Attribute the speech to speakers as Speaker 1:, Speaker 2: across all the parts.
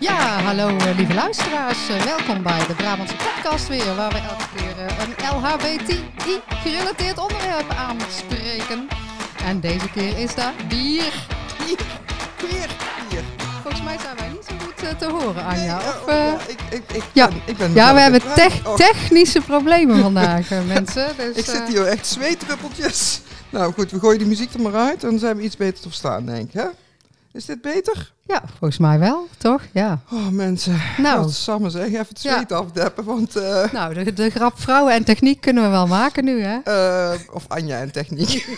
Speaker 1: Ja, hallo eh, lieve luisteraars. Eh, welkom bij de Brabantse podcast weer, waar we elke keer eh, een LHBTI-gerelateerd onderwerp aanspreken. En deze keer is dat bier.
Speaker 2: Weer hier.
Speaker 1: Volgens mij zijn wij niet zo goed eh, te horen,
Speaker 2: Nee,
Speaker 1: Anja.
Speaker 2: eh,
Speaker 1: Of,
Speaker 2: oh,
Speaker 1: eh,
Speaker 2: ja, ik, ik, ik
Speaker 1: ja.
Speaker 2: ben, ik ben
Speaker 1: ja,
Speaker 2: mezelf
Speaker 1: we hebben
Speaker 2: kwijt.
Speaker 1: tech-
Speaker 2: Oh,
Speaker 1: technische problemen vandaag, eh, mensen. Dus,
Speaker 2: Ik zit
Speaker 1: eh,
Speaker 2: hier echt zweetdruppeltjes. Nou goed, we gooien die muziek er maar uit. Dan zijn we iets beter te verstaan, denk ik. Hè? Is dit beter?
Speaker 1: ja, volgens mij wel, toch? Ja.
Speaker 2: Oh mensen,
Speaker 1: Nou.
Speaker 2: wat samen zeg. Even het
Speaker 1: Ja.
Speaker 2: zweet afdeppen. Want, eh,
Speaker 1: Nou, de, de grap vrouwen en techniek kunnen we wel maken nu, hè?
Speaker 2: eh, of Anja en techniek.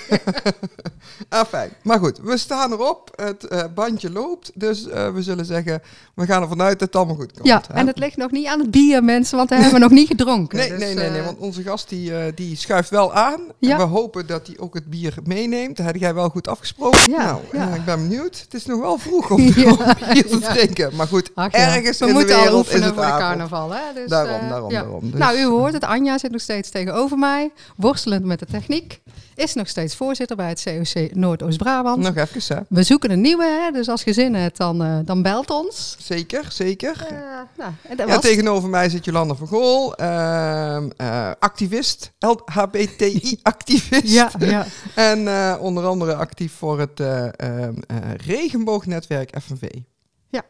Speaker 2: ah, fijn. Maar goed, we staan erop. Het eh, bandje loopt. Dus eh, we zullen zeggen, we gaan ervan uit dat het allemaal goed komt.
Speaker 1: Ja,
Speaker 2: hè?
Speaker 1: en het ligt nog niet aan het bier, mensen, want daar hebben we nog niet gedronken.
Speaker 2: Nee,
Speaker 1: dus,
Speaker 2: nee, nee, nee,
Speaker 1: eh,
Speaker 2: want onze gast die, eh, die schuift wel aan.
Speaker 1: Ja.
Speaker 2: En we hopen dat hij ook het bier meeneemt. Dat heb jij wel goed afgesproken.
Speaker 1: Ja,
Speaker 2: nou,
Speaker 1: ja.
Speaker 2: eh, ik ben benieuwd. Het is nog wel vroeg om, om bier te
Speaker 1: ja.
Speaker 2: drinken. Maar goed,
Speaker 1: Ach ja,
Speaker 2: ergens
Speaker 1: we
Speaker 2: in de
Speaker 1: moeten al
Speaker 2: wereld is
Speaker 1: oefenen
Speaker 2: het
Speaker 1: voor de
Speaker 2: avond.
Speaker 1: carnaval. Hè? Dus,
Speaker 2: Daarom,
Speaker 1: eh,
Speaker 2: daarom, daarom. Dus-
Speaker 1: nou, u hoort het. Anja zit nog steeds tegenover mij, worstelend met de techniek. Is nog steeds voorzitter bij het COC Noordoost-Brabant.
Speaker 2: Nog even, hè.
Speaker 1: We zoeken een nieuwe, hè? dus als je zin hebt, dan, eh, dan belt ons.
Speaker 2: Zeker, zeker.
Speaker 1: Eh, nou, en dat
Speaker 2: ja,
Speaker 1: was
Speaker 2: tegenover mij zit Jolanda van Gool, ehm, eh, activist, LHBTI-activist.
Speaker 1: ja, ja.
Speaker 2: En eh, onder andere actief voor het eh, ehm, eh, regenboognetwerk FNV.
Speaker 1: Ja.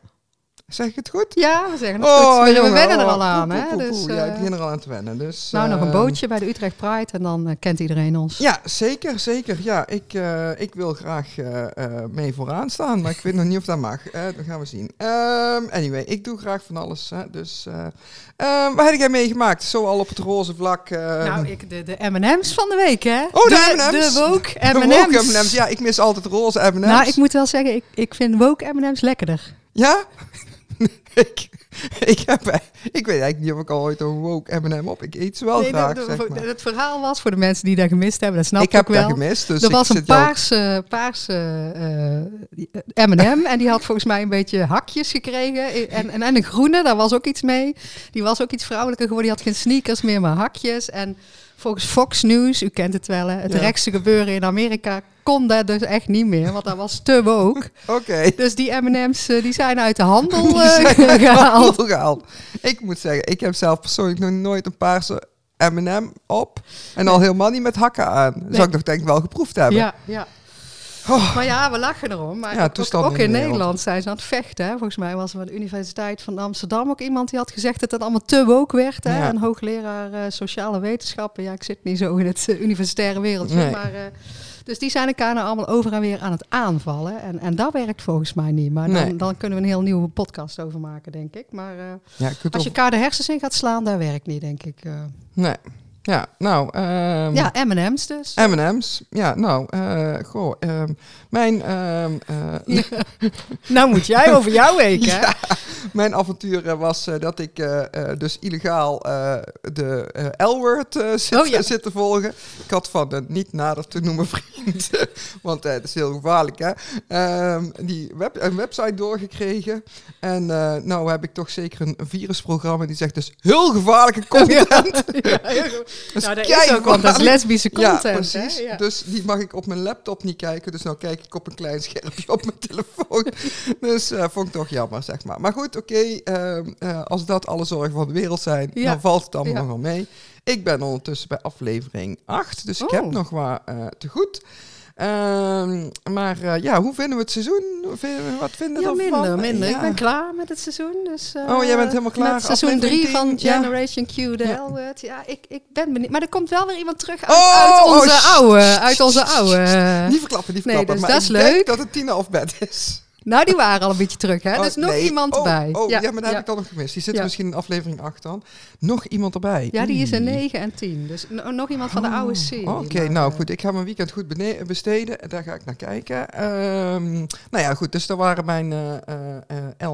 Speaker 2: Zeg ik het goed?
Speaker 1: ja, we zeggen het goed. We-
Speaker 2: jongen,
Speaker 1: we wennen er
Speaker 2: oh,
Speaker 1: al aan.
Speaker 2: poe,
Speaker 1: Hè?
Speaker 2: poe, poe,
Speaker 1: Dus,
Speaker 2: poe. ja, ik
Speaker 1: eh,
Speaker 2: begin er al aan te wennen. Dus,
Speaker 1: nou, nog een
Speaker 2: eh,
Speaker 1: bootje bij de Utrecht Pride en dan eh, kent iedereen ons.
Speaker 2: Ja, zeker, zeker. Ja, ik, eh, ik wil graag eh, eh, mee vooraan staan, maar ik weet nog niet of dat mag. Eh, dat gaan we zien. Ehm, anyway, ik doe graag van alles. Hè, dus, eh ehm, wat heb jij meegemaakt? Zo al op het roze vlak. eh,
Speaker 1: Nou, ik, de, de M&M's van de week, hè?
Speaker 2: Oh, de M&M's.
Speaker 1: De woke
Speaker 2: de
Speaker 1: M&M's.
Speaker 2: woke M&M's. Ja, ik mis altijd roze M&M's.
Speaker 1: Nou, ik moet wel zeggen, ik, ik vind woke M&M's lekkerder.
Speaker 2: Ja? ik, ik, heb, eh, ik weet eigenlijk niet of ik al ooit een woke M&M op. Ik eet ze wel
Speaker 1: Nee,
Speaker 2: graag,
Speaker 1: dat-
Speaker 2: zeg
Speaker 1: dat-
Speaker 2: maar.
Speaker 1: Het verhaal was, voor de mensen die dat gemist hebben, dat snap ik,
Speaker 2: ik heb
Speaker 1: ook wel.
Speaker 2: dat gemist, dus
Speaker 1: er
Speaker 2: ik
Speaker 1: was een
Speaker 2: zit jou-
Speaker 1: paarse, paarse eh, M&M en die had volgens mij een beetje hakjes gekregen. En, en, en een groene, daar was ook iets mee. Die was ook iets vrouwelijker geworden. Die had geen sneakers meer, maar hakjes. En volgens Fox News, u kent het wel, hè, het
Speaker 2: Ja.
Speaker 1: rechtse gebeuren in Amerika kon dat dus echt niet meer, want dat was te woke.
Speaker 2: Oké.
Speaker 1: Dus die M&M's eh, die zijn uit de handel
Speaker 2: Die
Speaker 1: eh,
Speaker 2: zijn uit de
Speaker 1: gehaald.
Speaker 2: handel gehaald. Ik moet zeggen, ik heb zelf persoonlijk nog nooit een paarse M&M op. En al helemaal niet met hakken aan. Dat zou ik nog denk ik wel geproefd hebben.
Speaker 1: Ja, ja.
Speaker 2: Oh.
Speaker 1: Maar ja, we lachen erom. Maar
Speaker 2: Ja,
Speaker 1: ook- ook,
Speaker 2: toestanden
Speaker 1: ook
Speaker 2: in
Speaker 1: in
Speaker 2: de wereld.
Speaker 1: Nederland zijn ze aan het vechten. Hè. Volgens mij was er bij de Universiteit van Amsterdam ook iemand die had gezegd dat het allemaal te woke werd. Hè.
Speaker 2: Ja.
Speaker 1: Een hoogleraar eh, sociale wetenschappen. Ja, ik zit niet zo in het eh, universitaire wereldje.
Speaker 2: Nee.
Speaker 1: Maar, eh, dus die zijn elkaar nou allemaal over en weer aan het aanvallen. En, en dat werkt volgens mij niet. Maar dan,
Speaker 2: Nee.
Speaker 1: dan kunnen we een heel nieuwe podcast over maken, denk ik. Maar eh,
Speaker 2: Ja, ik weet
Speaker 1: als je
Speaker 2: of-
Speaker 1: elkaar de hersens in gaat slaan, dat werkt niet, denk ik. eh.
Speaker 2: Nee. Ja, nou... ehm,
Speaker 1: ja, M&M's dus.
Speaker 2: M&M's, ja, nou, eh, goh, ehm, mijn, ehm, eh,
Speaker 1: nou moet jij over jouw week, hè?
Speaker 2: mijn avontuur eh, was eh, dat ik eh, eh, dus illegaal eh, de eh, L-word eh, zit,
Speaker 1: Oh, ja.
Speaker 2: zit te volgen. Ik had van een niet nader te noemen vriend, want eh, het is heel gevaarlijk, hè. ehm, die web, een website doorgekregen. En eh, nou heb ik toch zeker een virusprogramma die zegt dus heel gevaarlijke content.
Speaker 1: Ja, heel goed.
Speaker 2: Dus
Speaker 1: nou, dat
Speaker 2: kijk
Speaker 1: is ook, want dat is
Speaker 2: maar.
Speaker 1: lesbische
Speaker 2: Ja,
Speaker 1: content.
Speaker 2: precies.
Speaker 1: Hè? Ja.
Speaker 2: Dus die mag ik op mijn laptop niet kijken. Dus nou kijk ik op een klein schermpje op mijn telefoon. Dus eh, vond ik toch jammer, zeg maar. Maar goed, oké. ehm, eh, als dat alle zorgen van de wereld zijn,
Speaker 1: Ja.
Speaker 2: dan valt het allemaal
Speaker 1: Ja.
Speaker 2: nog wel mee. Ik ben ondertussen bij aflevering 8. Dus ik
Speaker 1: Oh.
Speaker 2: heb nog wat eh, te goed. Ehm, maar eh, ja, hoe vinden we het seizoen? Hoe vinden we- Wat vinden we
Speaker 1: Ja,
Speaker 2: ervan?
Speaker 1: minder, minder.
Speaker 2: Ja.
Speaker 1: Ik ben klaar met het seizoen. Dus, eh,
Speaker 2: Oh, jij bent helemaal klaar.
Speaker 1: Met seizoen 3 van
Speaker 2: Aflevering 10, ja.
Speaker 1: Generation Q, de
Speaker 2: Ja.
Speaker 1: L-word. Ja, ik, ik ben benieuwd. Maar er komt wel weer iemand terug uit,
Speaker 2: Oh,
Speaker 1: uit onze
Speaker 2: oh,
Speaker 1: oude.
Speaker 2: sst,
Speaker 1: Uit onze
Speaker 2: sst,
Speaker 1: oude.
Speaker 2: Niet verklappen, niet
Speaker 1: Nee,
Speaker 2: verklappen.
Speaker 1: dus dat
Speaker 2: maar ik
Speaker 1: is leuk.
Speaker 2: denk dat het Tina of bed is.
Speaker 1: Nou, die waren al een beetje terug, hè? er is
Speaker 2: Oh,
Speaker 1: nog
Speaker 2: nee.
Speaker 1: iemand
Speaker 2: oh,
Speaker 1: bij.
Speaker 2: Oh, ja, maar daar
Speaker 1: ja.
Speaker 2: heb ik al nog gemist. Die zit
Speaker 1: Ja.
Speaker 2: misschien in aflevering 8 dan. Nog iemand erbij.
Speaker 1: Ja, die is
Speaker 2: Oei.
Speaker 1: een 9 en 10. Dus no- nog iemand van de oude serie.
Speaker 2: Oké,
Speaker 1: maar,
Speaker 2: nou
Speaker 1: eh,
Speaker 2: goed. Ik ga mijn weekend goed bene- besteden. En Daar ga ik naar kijken. Ehm, nou ja, goed. Dus dat waren mijn eh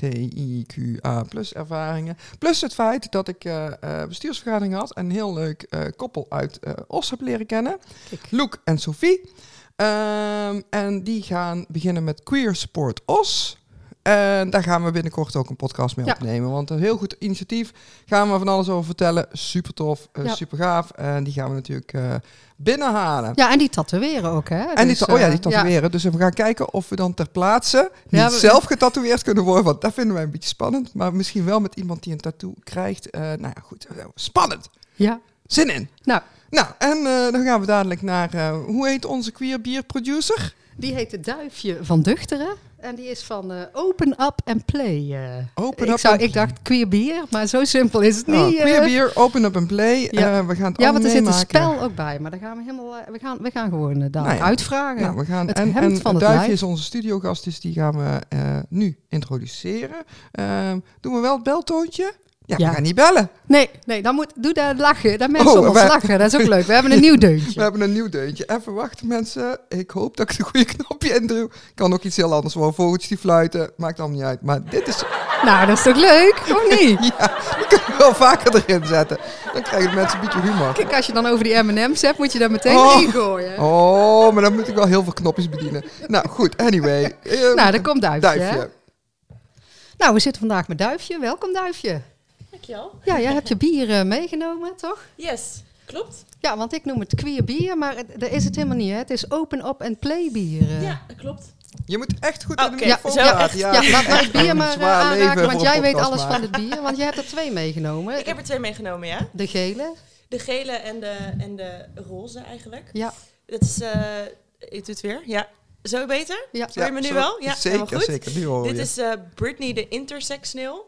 Speaker 2: LHBTIQA plus ervaringen. Plus het feit dat ik eh, eh, bestuursvergadering had. En een heel leuk eh, koppel uit eh Os heb leren kennen.
Speaker 1: Kijk.
Speaker 2: Luc en Sophie. Ehm, en die gaan beginnen met Queer Sport Os. En daar gaan we binnenkort ook een podcast mee
Speaker 1: Ja.
Speaker 2: opnemen. Want een heel goed initiatief. Gaan we van alles over vertellen. Super tof, eh,
Speaker 1: Ja.
Speaker 2: super gaaf. En die gaan we natuurlijk eh, binnenhalen.
Speaker 1: Ja, en die tatoeëren ook, hè?
Speaker 2: En die,
Speaker 1: Dus,
Speaker 2: ta- oh ja,
Speaker 1: eh,
Speaker 2: die tatoeëren. Dus we gaan kijken of we dan ter plaatse niet
Speaker 1: Ja, we-
Speaker 2: zelf getatoeëerd kunnen worden. Want dat vinden wij een beetje spannend. Maar misschien wel met iemand die een tattoo krijgt. Eh, nou ja, goed. eh, Spannend.
Speaker 1: Ja.
Speaker 2: Zin in.
Speaker 1: Nou,
Speaker 2: Nou, en eh, dan gaan we dadelijk naar... eh, hoe heet onze queer bier producer?
Speaker 1: die heet het Duifje van Duchteren. En die is van eh, Open Up and Play. eh.
Speaker 2: Open
Speaker 1: ik,
Speaker 2: up
Speaker 1: zou,
Speaker 2: and-
Speaker 1: ik dacht queer bier, maar zo simpel is het
Speaker 2: Oh,
Speaker 1: niet. eh.
Speaker 2: queer bier, open up and play.
Speaker 1: Ja.
Speaker 2: Eh, we gaan het
Speaker 1: Ja,
Speaker 2: allemaal
Speaker 1: want er zit een
Speaker 2: meemaken.
Speaker 1: spel ook bij, maar daar gaan we helemaal. eh, We gaan, we gaan gewoon eh, dadelijk
Speaker 2: Nou ja.
Speaker 1: uitvragen.
Speaker 2: Nou, we gaan,
Speaker 1: Het
Speaker 2: en
Speaker 1: hemd
Speaker 2: en
Speaker 1: van het
Speaker 2: Duifje
Speaker 1: lijf.
Speaker 2: is onze studiogast, dus die gaan we eh, nu introduceren. Ehm, doen we wel het beltoontje? Ja,
Speaker 1: Ja.
Speaker 2: we gaan niet bellen.
Speaker 1: Nee, nee, dan moet, doe daar lachen. Dan mensen
Speaker 2: Oh,
Speaker 1: om ons
Speaker 2: wij-
Speaker 1: lachen. Dat is ook leuk. We hebben een nieuw
Speaker 2: We
Speaker 1: deuntje.
Speaker 2: hebben een nieuw deuntje. Even wachten mensen. Ik hoop dat ik de goede knopje indruw. Kan ook iets heel anders worden. Vogeltjes die fluiten. Maakt allemaal niet uit. Maar dit is...
Speaker 1: Nou, dat is toch leuk? Of niet?
Speaker 2: Ja, we kunnen we wel vaker erin zetten. Dan krijgen mensen een beetje humor.
Speaker 1: Kijk, als je dan over die M&M's hebt, moet je daar meteen
Speaker 2: Oh.
Speaker 1: in gooien.
Speaker 2: Oh, maar dan moet ik wel heel veel knopjes bedienen. Nou, goed. Anyway. Ehm,
Speaker 1: Nou, daar komt Duifje. hè?
Speaker 2: Duifje.
Speaker 1: Nou, we zitten vandaag met Duifje. Welkom, Duifje.
Speaker 3: Dankjewel.
Speaker 1: Ja, jij hebt je bier eh, meegenomen, toch?
Speaker 3: Yes, klopt.
Speaker 1: Ja, want ik noem het queer bier, maar het- dat is het helemaal niet. Hè? Het is open up and play bier. eh.
Speaker 3: Ja, dat klopt.
Speaker 2: Je moet echt goed aan de
Speaker 3: Oké,
Speaker 2: microfoon
Speaker 3: zo
Speaker 2: praten.
Speaker 3: echt.
Speaker 1: Ja, laat maar het bier
Speaker 2: een
Speaker 1: maar eh,
Speaker 2: zwaar leven
Speaker 1: aanraken, want
Speaker 2: voor
Speaker 1: jij
Speaker 2: een
Speaker 1: weet alles
Speaker 2: podcast
Speaker 1: van het bier. Want jij hebt er twee meegenomen.
Speaker 3: Ik heb er twee meegenomen, ja.
Speaker 1: De gele.
Speaker 3: De gele en de, en de roze eigenlijk.
Speaker 1: Ja,
Speaker 3: Dat is... eh ik doe het weer, ja. Zo beter?
Speaker 1: ja.
Speaker 3: Hoor je me nu
Speaker 2: zo-
Speaker 3: wel? Ja, helemaal
Speaker 2: zeker,
Speaker 3: goed.
Speaker 2: zeker. Nu
Speaker 1: Oh,
Speaker 2: hoor
Speaker 3: Dit
Speaker 2: je.
Speaker 3: is eh, Britney de intersex nail.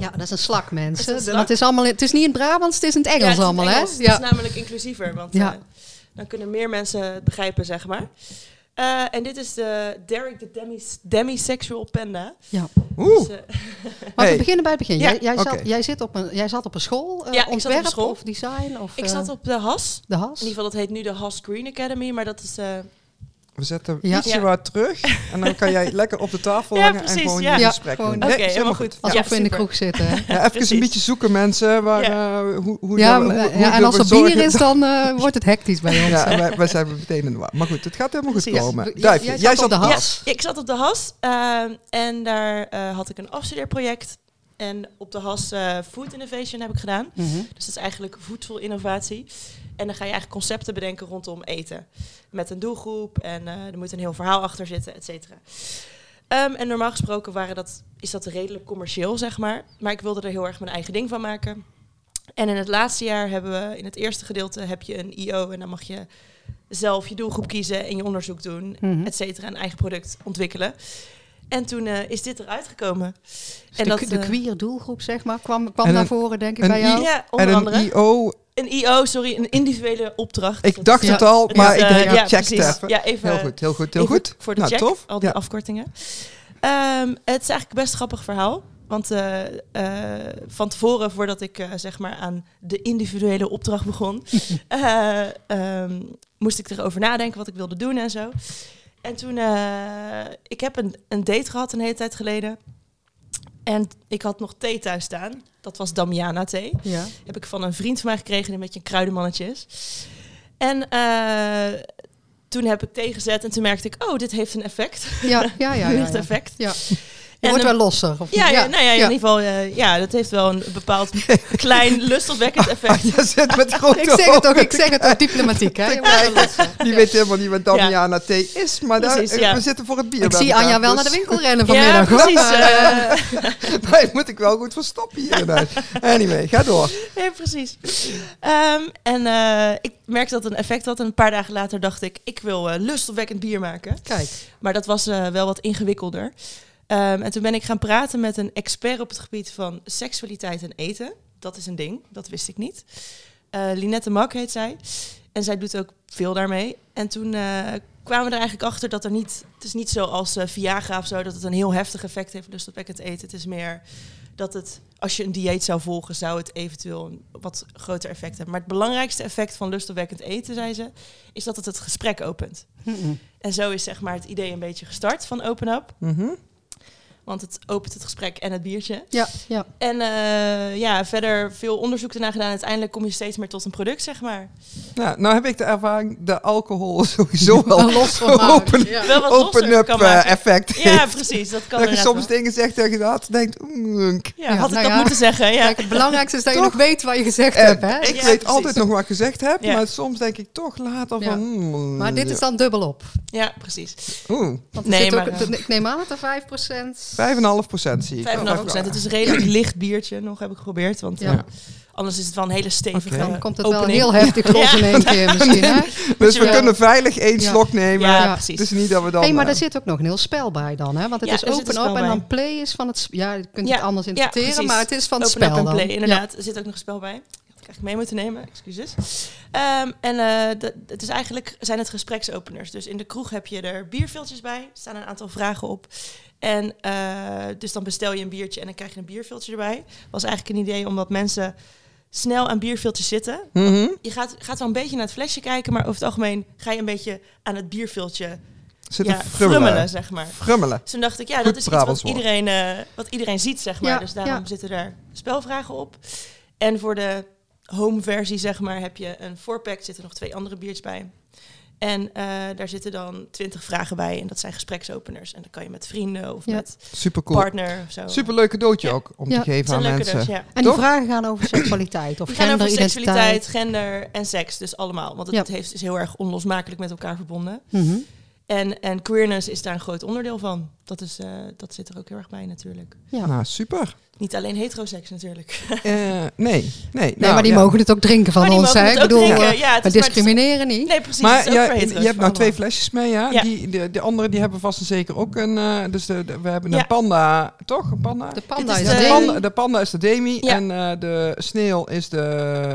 Speaker 1: ja, dat is een slak, mensen.
Speaker 3: Dat is een slak.
Speaker 1: Want het, is allemaal, in- het is niet in het Brabants, het is in het Engels
Speaker 3: Ja, het is in
Speaker 1: allemaal,
Speaker 3: Engels.
Speaker 1: hè?
Speaker 3: Het
Speaker 1: Ja.
Speaker 3: is namelijk inclusiever, want
Speaker 1: Ja.
Speaker 3: eh, dan kunnen meer mensen het begrijpen, zeg maar. Eh, en dit is de Derek de demis, demisexual panda.
Speaker 1: ja.
Speaker 2: Oeh.
Speaker 3: Dus, eh,
Speaker 1: Maar
Speaker 2: Hey.
Speaker 1: we beginnen bij het begin.
Speaker 3: Ja,
Speaker 1: Jij, jij,
Speaker 2: oké.
Speaker 1: zat, jij, zit op een, jij zat op een school, eh,
Speaker 3: Ja, ik zat op een
Speaker 1: ontwerp
Speaker 3: school.
Speaker 1: of design? Of,
Speaker 3: ik
Speaker 1: eh,
Speaker 3: zat op de HAS.
Speaker 1: de has.
Speaker 3: In ieder geval, dat heet nu de HAS Green Academy, maar dat is... eh,
Speaker 2: We zetten
Speaker 1: Ja.
Speaker 2: ietsje
Speaker 3: Ja.
Speaker 2: wat terug. En dan kan jij lekker op de tafel
Speaker 3: Ja,
Speaker 2: hangen en
Speaker 3: precies,
Speaker 2: gewoon
Speaker 3: ja.
Speaker 2: je
Speaker 1: Ja,
Speaker 2: gesprek
Speaker 1: gewoon-
Speaker 2: doen.
Speaker 3: Oké,
Speaker 2: Nee, is
Speaker 3: helemaal goed.
Speaker 2: Ja.
Speaker 1: Alsof
Speaker 3: Ja,
Speaker 1: we in de
Speaker 3: super.
Speaker 1: kroeg zitten. hè?
Speaker 2: Ja, even een
Speaker 3: Precies.
Speaker 2: beetje zoeken mensen. Waar,
Speaker 3: Ja.
Speaker 2: eh, hoe, hoe
Speaker 1: Ja,
Speaker 2: dat-
Speaker 1: maar,
Speaker 2: hoe-
Speaker 1: eh,
Speaker 2: hoe
Speaker 1: ja, en
Speaker 2: we
Speaker 1: als er
Speaker 2: zorgen-
Speaker 1: bier is, dan eh, wordt het hectisch bij ons.
Speaker 2: Ja, wij, wij zijn meteen in de war. Maar goed, het gaat helemaal goed
Speaker 3: Precies.
Speaker 2: komen.
Speaker 1: Ja,
Speaker 2: Duifje,
Speaker 1: jij
Speaker 2: jij
Speaker 1: zat
Speaker 2: zat
Speaker 1: op de has.
Speaker 3: Ja, ik zat op de HAS ehm, en daar eh, had ik een afstudeerproject. En op de HAS eh, Food Innovation heb ik gedaan.
Speaker 1: Mhm.
Speaker 3: Dus dat is eigenlijk voedselinnovatie. En dan ga je eigenlijk concepten bedenken rondom eten. Met een doelgroep en eh, er moet een heel verhaal achter zitten, et cetera. Ehm, en normaal gesproken waren dat, is dat redelijk commercieel, zeg maar. Maar ik wilde er heel erg mijn eigen ding van maken. En in het laatste jaar hebben we, in het eerste gedeelte heb je een IO. En dan mag je zelf je doelgroep kiezen en je onderzoek doen
Speaker 1: Mhm.
Speaker 3: et cetera, een eigen product ontwikkelen. En toen eh, is dit eruit gekomen.
Speaker 1: en Dus de, de
Speaker 3: eh,
Speaker 1: queer doelgroep, zeg maar, kwam, kwam
Speaker 2: en
Speaker 1: naar
Speaker 2: een-
Speaker 1: voren, denk ik,
Speaker 2: een
Speaker 1: bij jou.
Speaker 2: I-
Speaker 3: ja,
Speaker 2: En
Speaker 3: onder andere.
Speaker 2: een IO,
Speaker 3: een IO, sorry, een individuele opdracht.
Speaker 2: ik
Speaker 3: Dat
Speaker 2: dacht
Speaker 3: is-
Speaker 1: ja,
Speaker 2: het al,
Speaker 3: het
Speaker 2: maar
Speaker 3: is,
Speaker 2: ik
Speaker 3: eh,
Speaker 2: denk,
Speaker 3: ja,
Speaker 2: ja, check het
Speaker 3: precies.
Speaker 2: even.
Speaker 3: Ja, even.
Speaker 2: Heel goed, heel goed, heel
Speaker 3: even
Speaker 2: goed.
Speaker 3: Voor de
Speaker 2: nou,
Speaker 3: check,
Speaker 2: tof.
Speaker 3: al die
Speaker 2: Ja.
Speaker 3: afkortingen. Ehm, het is eigenlijk best een grappig verhaal. Want eh, eh, van tevoren, voordat ik eh, zeg maar aan de individuele opdracht begon, eh, ehm, moest ik erover nadenken wat ik wilde doen en zo. En toen, eh, ik heb een, een date gehad een hele tijd geleden. En ik had nog thee thuis staan. Dat was Damiana thee
Speaker 1: Ja.
Speaker 3: heb ik van een vriend van mij gekregen die een beetje een kruidenmannetje is. En eh, toen heb ik tegenzet en toen merkte ik, oh, dit heeft een effect.
Speaker 1: Ja, ja, ja. ja,
Speaker 3: Een
Speaker 1: ja,
Speaker 3: licht effect.
Speaker 1: Ja. Je
Speaker 3: En
Speaker 1: wordt
Speaker 3: een-
Speaker 1: wel losser. Of
Speaker 3: Ja,
Speaker 1: niet?
Speaker 3: ja, nou ja, in ieder geval, eh, ja, dat heeft wel een bepaald klein lustopwekkend
Speaker 1: Ah,
Speaker 3: effect.
Speaker 2: Jij zit met grote
Speaker 1: Ik zeg het ook,
Speaker 2: ogen
Speaker 1: ik zeg het ook diplomatiek. Hè. Je wordt wel losser.
Speaker 2: Die weet helemaal niet wat Damiana thee is, maar daar,
Speaker 3: Precies, ja.
Speaker 2: we zitten voor het bier.
Speaker 1: Ik
Speaker 2: bij
Speaker 1: zie
Speaker 2: elkaar,
Speaker 1: Anja wel
Speaker 2: dus-
Speaker 1: naar de winkel rennen
Speaker 3: ja,
Speaker 1: vanmiddag. hoor.
Speaker 3: precies. eh,
Speaker 2: Maar je moet ik wel goed verstoppen hier. inderdaad. Anyway, ga door.
Speaker 3: ja, precies. Ehm, en eh, ik merkte dat het een effect had. En een paar dagen later dacht ik, ik wil eh, lustopwekkend bier maken.
Speaker 1: Kijk,
Speaker 3: Maar dat was eh, wel wat ingewikkelder. Ehm, en toen ben ik gaan praten met een expert op het gebied van seksualiteit en eten. Dat is een ding, dat wist ik niet. Eh Linette Mak heet zij. En zij doet ook veel daarmee. En toen eh, kwamen er eigenlijk achter dat er niet... Het is niet zoals eh Viagra of zo, dat het een heel heftig effect heeft... dus dat het eten. Het is meer dat het... Als je een dieet zou volgen, zou het eventueel een wat groter effect hebben. Maar het belangrijkste effect van lustopwekkend eten, zei ze, is dat het het gesprek opent. En zo is zeg maar het idee een beetje gestart van Open Up.
Speaker 2: Mhm.
Speaker 3: Want het opent het gesprek en het biertje.
Speaker 1: Ja, ja.
Speaker 3: En eh, ja, verder veel onderzoek ernaar gedaan. Uiteindelijk kom je steeds meer tot een product, zeg maar.
Speaker 2: Nou, nou heb ik de ervaring dat alcohol sowieso wel
Speaker 1: Een los vermaak.
Speaker 2: open-
Speaker 1: Ja.
Speaker 3: Wel wat
Speaker 2: open
Speaker 3: losser
Speaker 2: up
Speaker 3: kan
Speaker 2: eh,
Speaker 3: maken.
Speaker 2: effect
Speaker 3: Ja,
Speaker 2: heeft.
Speaker 3: precies. Dat kan
Speaker 2: Dat je
Speaker 3: inderdaad
Speaker 2: soms
Speaker 3: wel.
Speaker 2: dingen zegt dat je dat denkt, mm, ik
Speaker 3: Ja,
Speaker 1: Ja,
Speaker 3: had ik
Speaker 1: nou
Speaker 3: dat
Speaker 1: ja.
Speaker 3: moeten zeggen. Ja.
Speaker 1: Kijk, het belangrijkste is dat je
Speaker 2: Toch?
Speaker 1: nog weet wat je gezegd
Speaker 2: Eh,
Speaker 1: hebt. Hè?
Speaker 2: ik
Speaker 3: Ja,
Speaker 2: weet
Speaker 3: precies.
Speaker 2: altijd nog wat ik gezegd heb,
Speaker 3: Ja.
Speaker 2: maar soms denk ik toch later
Speaker 1: Ja.
Speaker 2: van... mm,
Speaker 1: Maar dit is dan dubbel op.
Speaker 3: ja, precies.
Speaker 2: Oeh,
Speaker 1: Want er
Speaker 3: Nee,
Speaker 1: zit
Speaker 3: maar,
Speaker 1: ook,
Speaker 3: ja.
Speaker 1: ik neem aan dat er 5%.
Speaker 2: 5,5 zie ik. Oh,
Speaker 3: 5,5 procent. Het is een redelijk licht biertje, nog heb ik geprobeerd. Want
Speaker 1: Ja.
Speaker 3: eh, anders is het wel een hele stevige
Speaker 2: Oké.
Speaker 1: Dan komt het wel een
Speaker 3: opening.
Speaker 1: heel heftig los in één keer misschien. Hè?
Speaker 2: Dus we
Speaker 3: Ja.
Speaker 2: kunnen veilig één
Speaker 1: Ja.
Speaker 2: slok nemen.
Speaker 3: Ja,
Speaker 1: Ja. dus
Speaker 3: precies.
Speaker 2: Het is niet dat we dan...
Speaker 1: Hey, maar
Speaker 2: eh,
Speaker 1: daar zit ook nog een heel spel bij dan. Hè? Want het
Speaker 3: Ja,
Speaker 1: is
Speaker 3: er zit een
Speaker 1: open
Speaker 3: spel
Speaker 1: op en
Speaker 3: bij.
Speaker 1: dan play is van het... sp- Ja, je kunt het
Speaker 3: Ja,
Speaker 1: anders
Speaker 3: ja,
Speaker 1: interpreteren,
Speaker 3: precies.
Speaker 1: maar het is van het
Speaker 3: Open up
Speaker 1: spel
Speaker 3: and
Speaker 1: dan.
Speaker 3: play, inderdaad. Er zit ook nog een spel bij. Die had ik eigenlijk mee moeten nemen, excuses. Ehm, en eh, dat- het is eigenlijk zijn het gespreksopeners. Dus in de kroeg heb je er bierviltjes bij. Er staan een aantal vragen op. En eh, dus dan bestel je een biertje en dan krijg je een bierviltje erbij. Was eigenlijk een idee omdat mensen snel aan bierviltjes zitten.
Speaker 2: mhm.
Speaker 3: Je gaat, gaat wel een beetje naar het flesje kijken, maar over het algemeen ga je een beetje aan het bierviltje
Speaker 2: Zitten
Speaker 3: ja,
Speaker 2: frummelen.
Speaker 3: frummelen, zeg maar.
Speaker 2: Frummelen.
Speaker 3: Dus toen dacht ik, ja,
Speaker 2: Goed
Speaker 3: dat is iets wat
Speaker 2: Brabants woord.
Speaker 3: iedereen, eh, wat iedereen ziet, zeg maar.
Speaker 1: Ja,
Speaker 3: dus daarom
Speaker 1: ja.
Speaker 3: zitten daar spelvragen op. En voor de home-versie, zeg maar, heb je een voorpack, zitten nog twee andere biertjes bij. En eh, daar zitten dan twintig vragen bij. En dat zijn gespreksopeners. En dan kan je met vrienden of
Speaker 1: Ja.
Speaker 3: met
Speaker 2: Supercool.
Speaker 3: partner of zo.
Speaker 2: Superleuk cadeautje
Speaker 3: Ja.
Speaker 2: ook om
Speaker 1: Ja.
Speaker 2: te geven aan
Speaker 3: zijn leuke
Speaker 2: mensen.
Speaker 3: dus, ja.
Speaker 1: En die
Speaker 2: Toch?
Speaker 1: vragen gaan over seksualiteit of
Speaker 3: Die gaan over
Speaker 1: genderidentiteit.
Speaker 3: seksualiteit, gender en seks. Dus allemaal. Want het
Speaker 1: Ja.
Speaker 3: het heeft, is heel erg onlosmakelijk met elkaar verbonden.
Speaker 1: Mhm.
Speaker 3: En, en queerness is daar een groot onderdeel van. Dat, is, eh, dat zit er ook heel erg bij natuurlijk.
Speaker 1: Ja.
Speaker 2: Nou, super.
Speaker 3: Niet alleen heteroseks natuurlijk.
Speaker 2: Eh, nee, nou, nee.
Speaker 1: nee, maar die mogen het ook drinken van
Speaker 3: Nou, Maar die
Speaker 1: ons.
Speaker 3: mogen
Speaker 1: Hè?
Speaker 3: het
Speaker 1: Ik
Speaker 3: ook
Speaker 1: bedoel,
Speaker 3: drinken.
Speaker 1: eh,
Speaker 3: Ja, het
Speaker 1: we
Speaker 3: is maar-
Speaker 1: discrimineren niet.
Speaker 3: Nee, precies. het
Speaker 2: Maar
Speaker 3: is ook
Speaker 2: jij-
Speaker 3: voor hetero's
Speaker 2: je hebt nou
Speaker 3: allemaal.
Speaker 2: twee flesjes mee, ja?
Speaker 3: Ja.
Speaker 2: Die, de, de anderen die hebben vast en zeker ook een... eh, dus de, de- we hebben een
Speaker 3: Ja.
Speaker 2: panda, toch? Een panda?
Speaker 1: De panda
Speaker 3: Dit
Speaker 1: is
Speaker 3: is
Speaker 2: Ja,
Speaker 3: de-
Speaker 1: de
Speaker 3: Demi.
Speaker 2: panda- de panda is de demi
Speaker 3: Ja.
Speaker 2: en eh, de sneeuw is de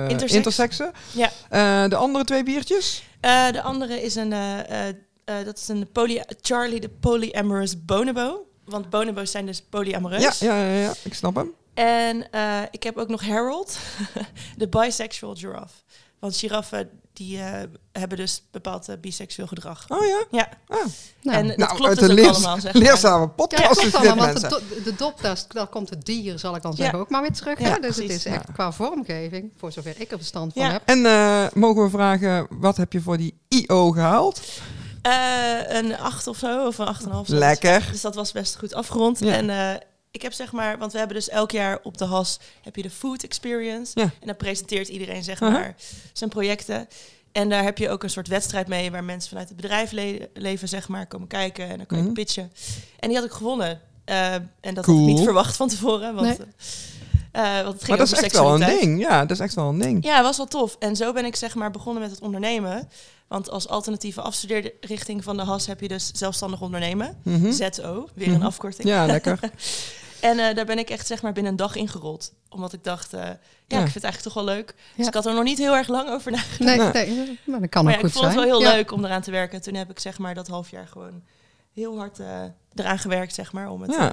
Speaker 3: Intersex.
Speaker 2: intersexe.
Speaker 3: Ja.
Speaker 2: Eh, de andere twee biertjes?
Speaker 3: Eh, de andere is een, eh, eh, eh, dat is een poly, Charlie de polyamorous bonobo. Want bonobo's zijn dus polyamoreus.
Speaker 2: Ja, ja, ja, ja, ik snap hem.
Speaker 3: En eh, ik heb ook nog Harold, de bisexual giraffe. Want giraffen die eh, hebben dus bepaald eh, biseksueel gedrag.
Speaker 2: Oh ja.
Speaker 3: Ja,
Speaker 2: Ah.
Speaker 1: Nou,
Speaker 3: en dat
Speaker 2: nou,
Speaker 3: klopt
Speaker 2: uit
Speaker 3: dus
Speaker 2: de
Speaker 3: ook
Speaker 2: leers-
Speaker 3: allemaal. Zeg maar.
Speaker 2: Leerzame
Speaker 1: Ja,
Speaker 2: podcast
Speaker 1: klopt
Speaker 2: is dit,
Speaker 1: allemaal, want de,
Speaker 2: mensen.
Speaker 1: do- de dop, daar, is- daar komt het dier, zal ik dan zeggen, ook maar weer terug.
Speaker 3: Ja,
Speaker 1: hè? Dus het
Speaker 3: precies.
Speaker 1: is echt qua vormgeving, voor zover ik er bestand van
Speaker 3: Ja.
Speaker 1: heb.
Speaker 2: En eh, mogen we vragen, wat heb je voor die IO gehaald?
Speaker 3: Eh, een 8 of zo, of een 8,5. zoiets.
Speaker 2: Lekker.
Speaker 3: Dus dat was best goed afgerond.
Speaker 2: Ja.
Speaker 3: En eh, ik heb zeg maar, want we hebben dus elk jaar op de HAS heb je de Food Experience.
Speaker 2: Ja.
Speaker 3: En dan presenteert iedereen zeg
Speaker 2: Aha.
Speaker 3: maar zijn projecten. En daar heb je ook een soort wedstrijd mee waar mensen vanuit het bedrijfsleven zeg maar komen kijken en dan kan je
Speaker 2: Mhm.
Speaker 3: pitchen. En die had ik gewonnen. Eh, en dat had
Speaker 2: Cool.
Speaker 3: ik niet verwacht van tevoren. Want,
Speaker 1: Nee.
Speaker 3: eh, eh, want het ging
Speaker 2: Maar dat is
Speaker 3: over
Speaker 2: echt wel een
Speaker 3: seksualiteit.
Speaker 2: ding. Ja, dat is echt wel een ding.
Speaker 3: Ja, was wel tof. En zo ben ik zeg maar begonnen met het ondernemen. Want als alternatieve afstudeerrichting van de HAS heb je dus zelfstandig ondernemen.
Speaker 2: Mhm.
Speaker 3: ZO, weer een
Speaker 2: Mhm.
Speaker 3: afkorting.
Speaker 2: Ja, lekker.
Speaker 3: En eh, daar ben ik echt zeg maar binnen een dag ingerold. Omdat ik dacht, eh, ja,
Speaker 2: Ja.
Speaker 3: ik vind het eigenlijk toch wel leuk. Dus
Speaker 1: Ja.
Speaker 3: ik had er nog niet heel erg lang over nagedacht.
Speaker 1: Nee,
Speaker 2: Ja.
Speaker 1: nee, maar dat kan
Speaker 3: Maar
Speaker 1: ook
Speaker 3: ja, ik
Speaker 1: goed
Speaker 3: vond
Speaker 1: zijn.
Speaker 3: het wel heel
Speaker 1: Ja.
Speaker 3: leuk om eraan te werken. Toen heb ik zeg maar dat half jaar gewoon heel hard eh, eraan gewerkt, zeg maar, om het eh,
Speaker 2: Ja.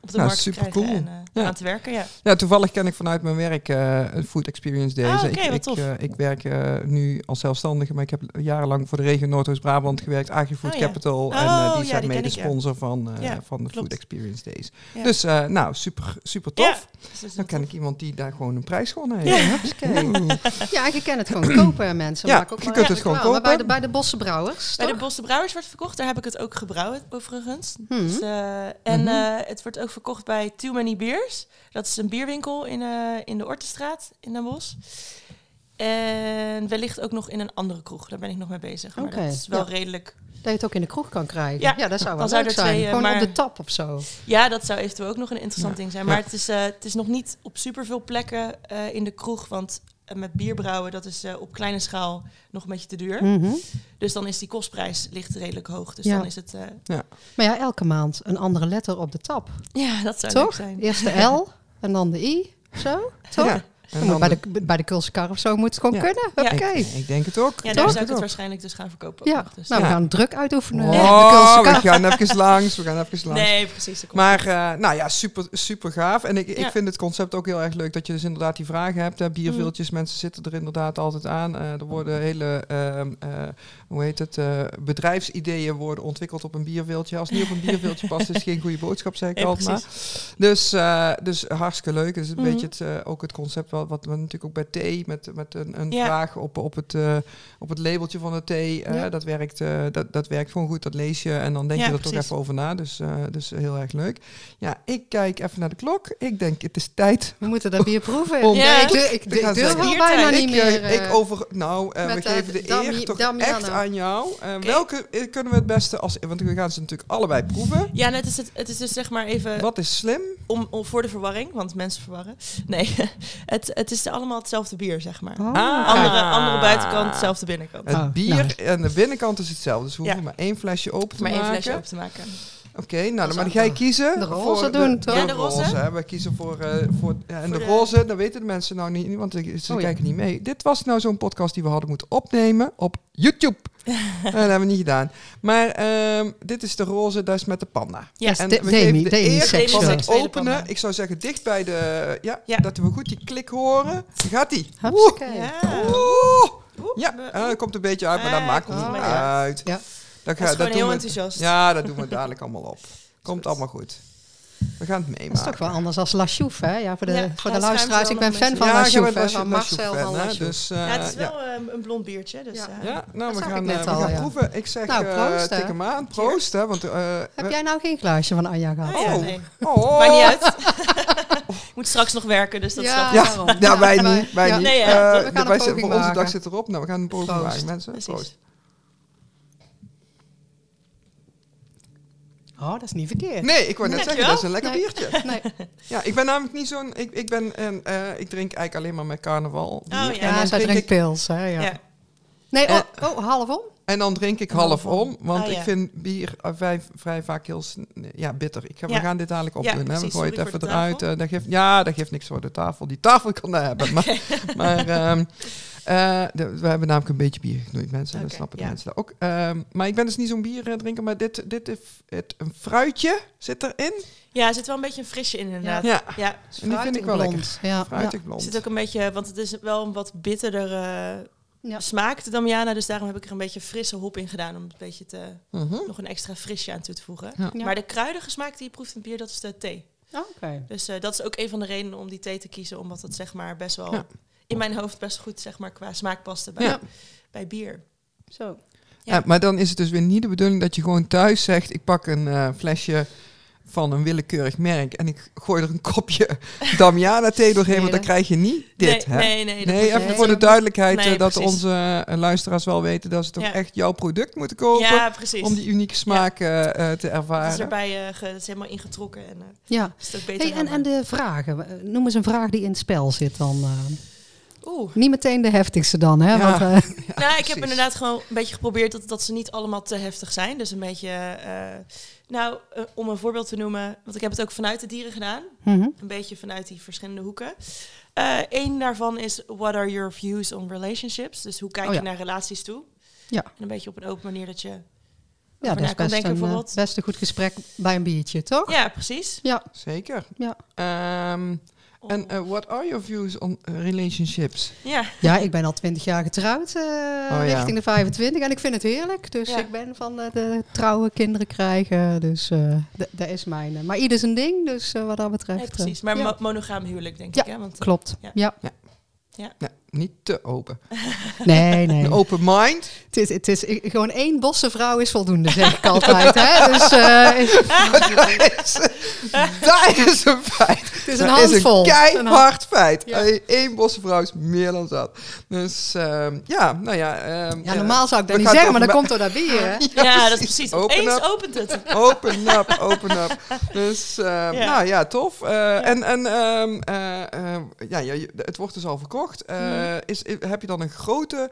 Speaker 3: op de
Speaker 2: Nou,
Speaker 3: markt te krijgen
Speaker 2: supercool.
Speaker 3: en eh,
Speaker 2: Ja.
Speaker 3: aan te werken. Ja.
Speaker 2: ja, toevallig ken ik vanuit mijn werk eh, een Food Experience deze.
Speaker 3: Ah, oké,
Speaker 2: ik,
Speaker 3: wat
Speaker 2: ik,
Speaker 3: tof.
Speaker 2: eh, ik werk eh, nu als zelfstandige, maar ik heb jarenlang voor de regio Noordoost-Brabant gewerkt, AgriFood
Speaker 3: Oh, ja.
Speaker 2: Capital. en
Speaker 3: Oh,
Speaker 2: eh, die
Speaker 3: ja,
Speaker 2: zijn
Speaker 3: die
Speaker 2: mede
Speaker 3: ken ik, ja.
Speaker 2: sponsor van, eh,
Speaker 3: Ja,
Speaker 2: van de
Speaker 3: klopt.
Speaker 2: Food Experience Days.
Speaker 3: Ja.
Speaker 2: Dus eh, nou, super, super tof.
Speaker 3: Ja, dus dat is wel
Speaker 2: Dan ken
Speaker 3: tof.
Speaker 2: ik iemand die daar gewoon een prijs gewonnen heeft. Hupsakee.
Speaker 1: Ja, en je kan het gewoon kopen, hè, mensen.
Speaker 2: Ja,
Speaker 1: Maak ook
Speaker 2: je
Speaker 1: maar
Speaker 2: kunt het
Speaker 1: reclame.
Speaker 2: gewoon
Speaker 1: Maar bij de,
Speaker 2: kopen.
Speaker 1: bij de bossenbrouwers,
Speaker 3: Bij de
Speaker 1: toch?
Speaker 3: Bos de Brouwers wordt verkocht. Daar heb ik het ook gebrouwen, overigens.
Speaker 1: Mhm.
Speaker 3: Dus, eh, en
Speaker 2: Mhm.
Speaker 3: eh, het wordt ook verkocht bij Too Many Beers. Dat is een bierwinkel in, eh, in de Ortestraat in Den Bosch. En wellicht ook nog in een andere kroeg. Daar ben ik nog mee bezig. Maar
Speaker 1: Oké,
Speaker 3: dat is wel
Speaker 1: ja.
Speaker 3: redelijk...
Speaker 1: Dat je het ook in de kroeg kan krijgen.
Speaker 3: Ja.
Speaker 1: Ja, dat zou wel
Speaker 3: Dan zou
Speaker 1: leuk
Speaker 3: er
Speaker 1: zijn.
Speaker 3: twee, eh,
Speaker 1: gewoon
Speaker 3: maar-
Speaker 1: op de tap of zo.
Speaker 3: Ja, dat zou eventueel ook nog een interessant
Speaker 2: Ja.
Speaker 3: ding zijn. Maar
Speaker 2: Ja.
Speaker 3: het, is, eh, het is nog niet op superveel plekken eh, in de kroeg. Want eh, met bierbrouwen, dat is eh, op kleine schaal nog een beetje te duur.
Speaker 1: Mhm.
Speaker 3: Dus dan is die kostprijs ligt redelijk hoog. Dus
Speaker 1: Ja.
Speaker 3: dan is het... eh,
Speaker 1: Maar ja, elke maand een andere letter op de tap,
Speaker 3: ja, dat zou leuk
Speaker 1: toch?
Speaker 3: zijn.
Speaker 1: Eerst de L en dan de I, zo, toch?
Speaker 2: Ja. En
Speaker 1: Moet
Speaker 2: dan
Speaker 1: bij de, bij de Kulskar of zo moet het gewoon
Speaker 2: Ja.
Speaker 1: kunnen.
Speaker 3: Ja.
Speaker 2: ik,
Speaker 1: Oké.
Speaker 2: ik denk het ook.
Speaker 3: Ja,
Speaker 2: denk
Speaker 3: daar zou ik het
Speaker 2: ook.
Speaker 3: waarschijnlijk dus gaan verkopen. ook
Speaker 1: Ja,
Speaker 3: nog, dus.
Speaker 1: nou, we
Speaker 2: Ja.
Speaker 1: gaan druk uitoefenen. aan de
Speaker 2: Oh,
Speaker 1: Keulse
Speaker 2: we
Speaker 1: Kar.
Speaker 2: gaan even langs, we gaan even langs.
Speaker 3: Nee, precies. dat komt
Speaker 2: Maar eh, nou ja, super, super gaaf. En ik,
Speaker 3: Ja. Mhm.
Speaker 2: ik vind het concept ook heel erg leuk dat je dus inderdaad die vragen hebt. Hè. Bierviltjes, mensen zitten er inderdaad altijd aan. Eh, er worden hele, ehm, eh, hoe heet het, eh, bedrijfsideeën worden ontwikkeld op een bierviltje. Als het niet op een bierviltje past, is het geen goede boodschap, zeg ik
Speaker 3: Nee,
Speaker 2: altijd maar.
Speaker 3: precies.
Speaker 2: Dus, eh, dus hartstikke leuk. Het is een
Speaker 3: Mhm.
Speaker 2: beetje het, eh, ook het concept wat, wat we natuurlijk ook bij thee, met, met een, een
Speaker 3: Ja.
Speaker 2: vraag op, op, het, eh, op het labeltje van de thee. eh,
Speaker 1: Ja.
Speaker 2: dat, werkt, eh, dat, dat werkt gewoon goed, dat lees je en dan denk
Speaker 3: Ja,
Speaker 2: je er toch
Speaker 3: precies.
Speaker 2: even over na. Dus, eh, dus heel erg leuk. Ja, ik kijk even naar de klok. Ik denk, het is tijd.
Speaker 1: We moeten dat bier proeven.
Speaker 2: Om-
Speaker 3: Ja.
Speaker 1: Ik, ik, ik
Speaker 2: We gaan
Speaker 1: durf
Speaker 2: zeggen.
Speaker 1: al bijna
Speaker 3: Biertijd.
Speaker 1: niet
Speaker 2: Ik, eh,
Speaker 1: meer. eh,
Speaker 2: ik over... Nou, eh, we
Speaker 1: met, eh,
Speaker 2: geven de
Speaker 1: Dami-
Speaker 2: eer toch
Speaker 1: Damiana.
Speaker 2: echt aan jou. Eh, Welke eh, kunnen we het beste als... Want we gaan ze natuurlijk allebei proeven.
Speaker 3: Ja, net is het, het is dus zeg maar
Speaker 1: Eh,
Speaker 3: even
Speaker 2: Wat is slim?
Speaker 3: om, om voor de verwarring, want mensen verwarren. Nee, het, het is allemaal hetzelfde bier, zeg maar.
Speaker 1: Oh,
Speaker 2: Ah.
Speaker 1: kijk.
Speaker 3: Andere, andere buitenkant, hetzelfde binnenkant.
Speaker 2: Het
Speaker 1: Ah,
Speaker 2: bier en de binnenkant is hetzelfde. Dus we
Speaker 3: Ja.
Speaker 2: hoeven maar één flesje open te
Speaker 3: maar één
Speaker 2: maken.
Speaker 3: flesje open te maken.
Speaker 2: Oké, nou, dan
Speaker 1: is
Speaker 2: maar ga je
Speaker 1: ook-
Speaker 2: kiezen.
Speaker 1: de roze
Speaker 2: voor
Speaker 1: doen,
Speaker 2: de,
Speaker 1: toch?
Speaker 3: Ja,
Speaker 2: de
Speaker 3: de
Speaker 2: roze.
Speaker 3: roze.
Speaker 2: hè. We kiezen voor... eh, voor ja, en
Speaker 3: Voor
Speaker 2: de
Speaker 3: de-
Speaker 2: roze, dat weten de mensen nou niet, want ze
Speaker 1: Oh, ja.
Speaker 2: kijken niet mee. Dit was nou zo'n podcast die we hadden moeten opnemen op YouTube. Eh, dat hebben we niet gedaan. Maar ehm, dit is de roze, dat is met de panda.
Speaker 3: Ja,
Speaker 2: en
Speaker 1: de-
Speaker 2: we
Speaker 1: Demi-
Speaker 2: geven de
Speaker 1: Demi
Speaker 2: eer
Speaker 1: Sexual.
Speaker 2: van
Speaker 3: Demi
Speaker 2: het
Speaker 3: Sexual.
Speaker 2: openen. Ik zou zeggen, dicht bij de... Ja,
Speaker 3: Ja.
Speaker 2: dat we goed die klik horen. Gaat die.
Speaker 1: Hupsakee.
Speaker 3: Ja.
Speaker 2: Oeh.
Speaker 3: Oeh,
Speaker 2: Ja,
Speaker 3: we-
Speaker 2: eh, dat komt een beetje uit, maar dat
Speaker 3: Eh,
Speaker 2: maakt
Speaker 3: komt
Speaker 2: niet
Speaker 1: niet
Speaker 2: uit.
Speaker 1: meer Ja.
Speaker 2: Dat,
Speaker 3: Hij is gewoon
Speaker 2: doen
Speaker 3: heel
Speaker 2: we-
Speaker 3: enthousiast.
Speaker 2: Ja, dat doen we dadelijk allemaal op. Komt allemaal goed. We gaan het
Speaker 1: Dat is toch
Speaker 2: meemaken.
Speaker 1: wel anders als La Chouf, hè? Ja, voor de,
Speaker 3: Ja,
Speaker 1: voor de
Speaker 3: hij
Speaker 1: luisteraars, ik
Speaker 3: schuift wel
Speaker 1: ben
Speaker 3: nog
Speaker 1: fan
Speaker 3: met
Speaker 1: van
Speaker 2: ja,
Speaker 1: La
Speaker 2: ik heb
Speaker 1: Chouf,
Speaker 2: het
Speaker 1: hè,
Speaker 2: wel
Speaker 1: van
Speaker 2: La Chouffe,
Speaker 1: Marcel van
Speaker 2: hè,
Speaker 1: La Chouf.
Speaker 2: Dus, eh,
Speaker 3: ja, het is
Speaker 2: ja.
Speaker 3: wel ehm, een blond biertje, dus
Speaker 1: Ja.
Speaker 3: ja.
Speaker 2: Ja, nou, we
Speaker 1: zag
Speaker 2: gaan,
Speaker 1: ik net
Speaker 2: eh, we
Speaker 1: al,
Speaker 2: gaan
Speaker 1: ja.
Speaker 2: proeven. Ik zeg,
Speaker 1: Nou,
Speaker 2: eh,
Speaker 1: proost, hè.
Speaker 2: tik hem aan. Proost, hè. Want, eh,
Speaker 1: Heb
Speaker 2: we-
Speaker 1: jij nou geen glaasje van Anja gehad?
Speaker 3: Ah, ja,
Speaker 2: Oh.
Speaker 3: nee.
Speaker 2: Oh.
Speaker 3: Maakt niet uit. Ik moet straks nog werken, dus dat is wel
Speaker 1: Ja.
Speaker 3: goed.
Speaker 2: Ja,
Speaker 1: Daarom.
Speaker 2: ja, wij
Speaker 1: Ja,
Speaker 2: niet. Wij
Speaker 1: ja.
Speaker 2: niet.
Speaker 3: Nee, ja,
Speaker 2: Eh,
Speaker 3: we gaan
Speaker 2: de-
Speaker 1: een
Speaker 2: wij
Speaker 1: poging
Speaker 2: zitten- voor onze
Speaker 1: maken.
Speaker 2: dag zit erop. Nou, we gaan een poging
Speaker 1: Proost.
Speaker 2: maken, mensen.
Speaker 3: Precies.
Speaker 2: Proost.
Speaker 1: Oh, dat is niet verkeerd.
Speaker 2: Nee, ik wou net zeggen,
Speaker 3: Dankjewel.
Speaker 2: dat is een lekker
Speaker 1: Nee.
Speaker 2: biertje.
Speaker 1: Nee.
Speaker 2: Ja, ik ben namelijk niet zo'n... Ik, ik, ben, en, eh, ik drink eigenlijk alleen maar met
Speaker 1: Oh,
Speaker 2: carnaval. bier.
Speaker 3: ja.
Speaker 1: Ja,
Speaker 2: en,
Speaker 1: zij
Speaker 2: dan drink
Speaker 1: drinkt
Speaker 2: ik,
Speaker 1: pils, hè? Ja.
Speaker 3: Ja.
Speaker 1: Nee,
Speaker 2: Eh.
Speaker 1: oh, oh, half om?
Speaker 2: en dan drink ik half
Speaker 3: Half om.
Speaker 2: om, want
Speaker 3: Ah, ja.
Speaker 2: ik vind bier eh, vrij, vrij vaak heel sn- ja, bitter. Ik ga,
Speaker 3: Ja.
Speaker 2: We gaan dit dadelijk
Speaker 3: Ja,
Speaker 2: opdoen. hè. We
Speaker 3: precies.
Speaker 2: gooien het
Speaker 3: Sorry voor
Speaker 2: even
Speaker 3: de
Speaker 2: eruit.
Speaker 3: tafel.
Speaker 2: eh, dat geeft, ja, dat geeft niks voor de tafel. Die tafel kan daar hebben. Maar, maar ehm, eh, de- we hebben namelijk een beetje bier genoeid, mensen. Dat
Speaker 3: Oké,
Speaker 2: snappen de
Speaker 3: ja.
Speaker 2: mensen dat ook. Ehm, maar ik ben dus niet zo'n bierdrinker, maar dit, dit is het, een fruitje zit erin.
Speaker 3: ja, er zit wel een beetje een frisje in inderdaad. Ja.
Speaker 2: Ja, en die vind ik wel lekker.
Speaker 1: Fruitig blond, Ja.
Speaker 2: Fruitig
Speaker 3: Er
Speaker 2: blond.
Speaker 3: zit ook een beetje, want het is wel een wat bitterdere
Speaker 1: Ja.
Speaker 3: smaak, de Damiana. Dus daarom heb ik er een beetje frisse hop in gedaan. Om het een beetje te,
Speaker 2: Mhm.
Speaker 3: nog een extra frisje aan toe te voegen.
Speaker 2: Ja.
Speaker 1: Ja.
Speaker 3: Maar de kruidige smaak die je proeft in het bier, dat is de thee.
Speaker 1: Ja. Oké.
Speaker 3: Dus eh, dat is ook een van de redenen om die thee te kiezen. Omdat het zeg maar best wel,
Speaker 2: Ja.
Speaker 3: in mijn hoofd best goed zeg maar, qua smaak paste bij,
Speaker 2: Ja.
Speaker 3: bij bier.
Speaker 1: Zo.
Speaker 3: Ja.
Speaker 2: Ja, maar dan is het dus weer niet de bedoeling dat je gewoon thuis zegt: ik pak een eh, flesje van een willekeurig merk en ik gooi er een kopje Damiana thee doorheen,
Speaker 1: Nee,
Speaker 2: want dan
Speaker 1: hè?
Speaker 2: krijg je niet dit.
Speaker 3: nee,
Speaker 2: hè?
Speaker 3: nee, nee. dat
Speaker 2: Nee,
Speaker 3: moet je
Speaker 2: even
Speaker 1: nee.
Speaker 3: echt-
Speaker 2: voor de duidelijkheid
Speaker 3: Nee,
Speaker 2: eh, dat
Speaker 3: precies.
Speaker 2: onze eh, luisteraars wel weten dat ze toch
Speaker 3: Ja.
Speaker 2: echt jouw product moeten kopen
Speaker 3: Ja, precies.
Speaker 2: om die unieke smaak eh, eh, te
Speaker 3: dat is
Speaker 2: ervaren.
Speaker 3: erbij eh, ge- dat is helemaal ingetrokken en eh,
Speaker 1: Ja.
Speaker 3: is het ook beter.
Speaker 1: Hey, en,
Speaker 3: helder.
Speaker 1: en de vragen. Eh, Noem eens een vraag die in het spel zit dan. eh.
Speaker 3: Oeh.
Speaker 1: Niet meteen de heftigste dan, hè?
Speaker 2: Ja.
Speaker 1: Want, eh,
Speaker 3: nou, ik heb
Speaker 2: precies.
Speaker 3: inderdaad gewoon een beetje geprobeerd dat, dat ze niet allemaal te heftig zijn. Dus een beetje, eh, nou, eh, om een voorbeeld te noemen, want ik heb het ook vanuit de dieren gedaan.
Speaker 1: mhm.
Speaker 3: Een beetje vanuit die verschillende hoeken. Eén daarvan is, what are your views on relationships? Dus hoe kijk
Speaker 1: Oh ja.
Speaker 3: je naar relaties toe?
Speaker 1: Ja.
Speaker 3: En een beetje op een open manier dat je...
Speaker 1: Ja, dat
Speaker 3: na
Speaker 1: is
Speaker 3: kan
Speaker 1: best
Speaker 3: denken,
Speaker 1: een, eh,
Speaker 3: bijvoorbeeld.
Speaker 1: best een goed gesprek bij een biertje, toch?
Speaker 3: Ja, precies.
Speaker 1: Ja.
Speaker 2: Zeker.
Speaker 1: Ja.
Speaker 2: Ehm,
Speaker 3: Om-
Speaker 2: en eh, what are your views on eh, relationships?
Speaker 3: ja,
Speaker 1: Ja, ik ben al twintig jaar getrouwd, eh,
Speaker 2: Oh, ja.
Speaker 1: richting de 25. En ik vind het heerlijk. Dus
Speaker 3: Ja.
Speaker 1: ik ben van de, de trouwe kinderen krijgen. Dus eh, d- dat is mijn. eh, maar ieder zijn ding, dus eh, wat dat betreft.
Speaker 3: nee,
Speaker 1: eh,
Speaker 3: precies. Maar
Speaker 1: ja.
Speaker 3: mo- monogaam huwelijk, denk
Speaker 1: Ja,
Speaker 3: ik. Hè? Want,
Speaker 1: Klopt. Ja.
Speaker 3: Ja.
Speaker 2: Nou, niet te open.
Speaker 1: Nee, nee.
Speaker 2: Een open mind.
Speaker 1: Het is, het is, ik- gewoon één bosse vrouw is voldoende, zeg ik altijd. Hè? Dus eh,
Speaker 2: Dat is een feit.
Speaker 1: het is een
Speaker 2: Dat
Speaker 1: handvol.
Speaker 2: Is een
Speaker 1: Een hand-
Speaker 2: keihard feit.
Speaker 1: Ja.
Speaker 2: Eén Eén bossenvrouw is meer dan zat. Dus ehm, ja, nou ja. ehm,
Speaker 1: Ja,
Speaker 2: eh,
Speaker 1: normaal zou ik dat
Speaker 2: we
Speaker 1: niet
Speaker 2: gaan
Speaker 1: zeggen, maar
Speaker 2: toch
Speaker 1: dat komt
Speaker 2: me-
Speaker 1: door dat bier. Hè?
Speaker 3: ja, dat is
Speaker 2: precies.
Speaker 3: precies.
Speaker 2: Open
Speaker 3: Opeens
Speaker 2: up.
Speaker 3: opent het.
Speaker 2: Open up, open up. Dus, eh, nou ja, tof. Eh, En, en ehm, eh,
Speaker 1: Mhm.
Speaker 2: eh, ja, ja, je- het wordt dus al verkocht. Eh, is, heb je dan een grote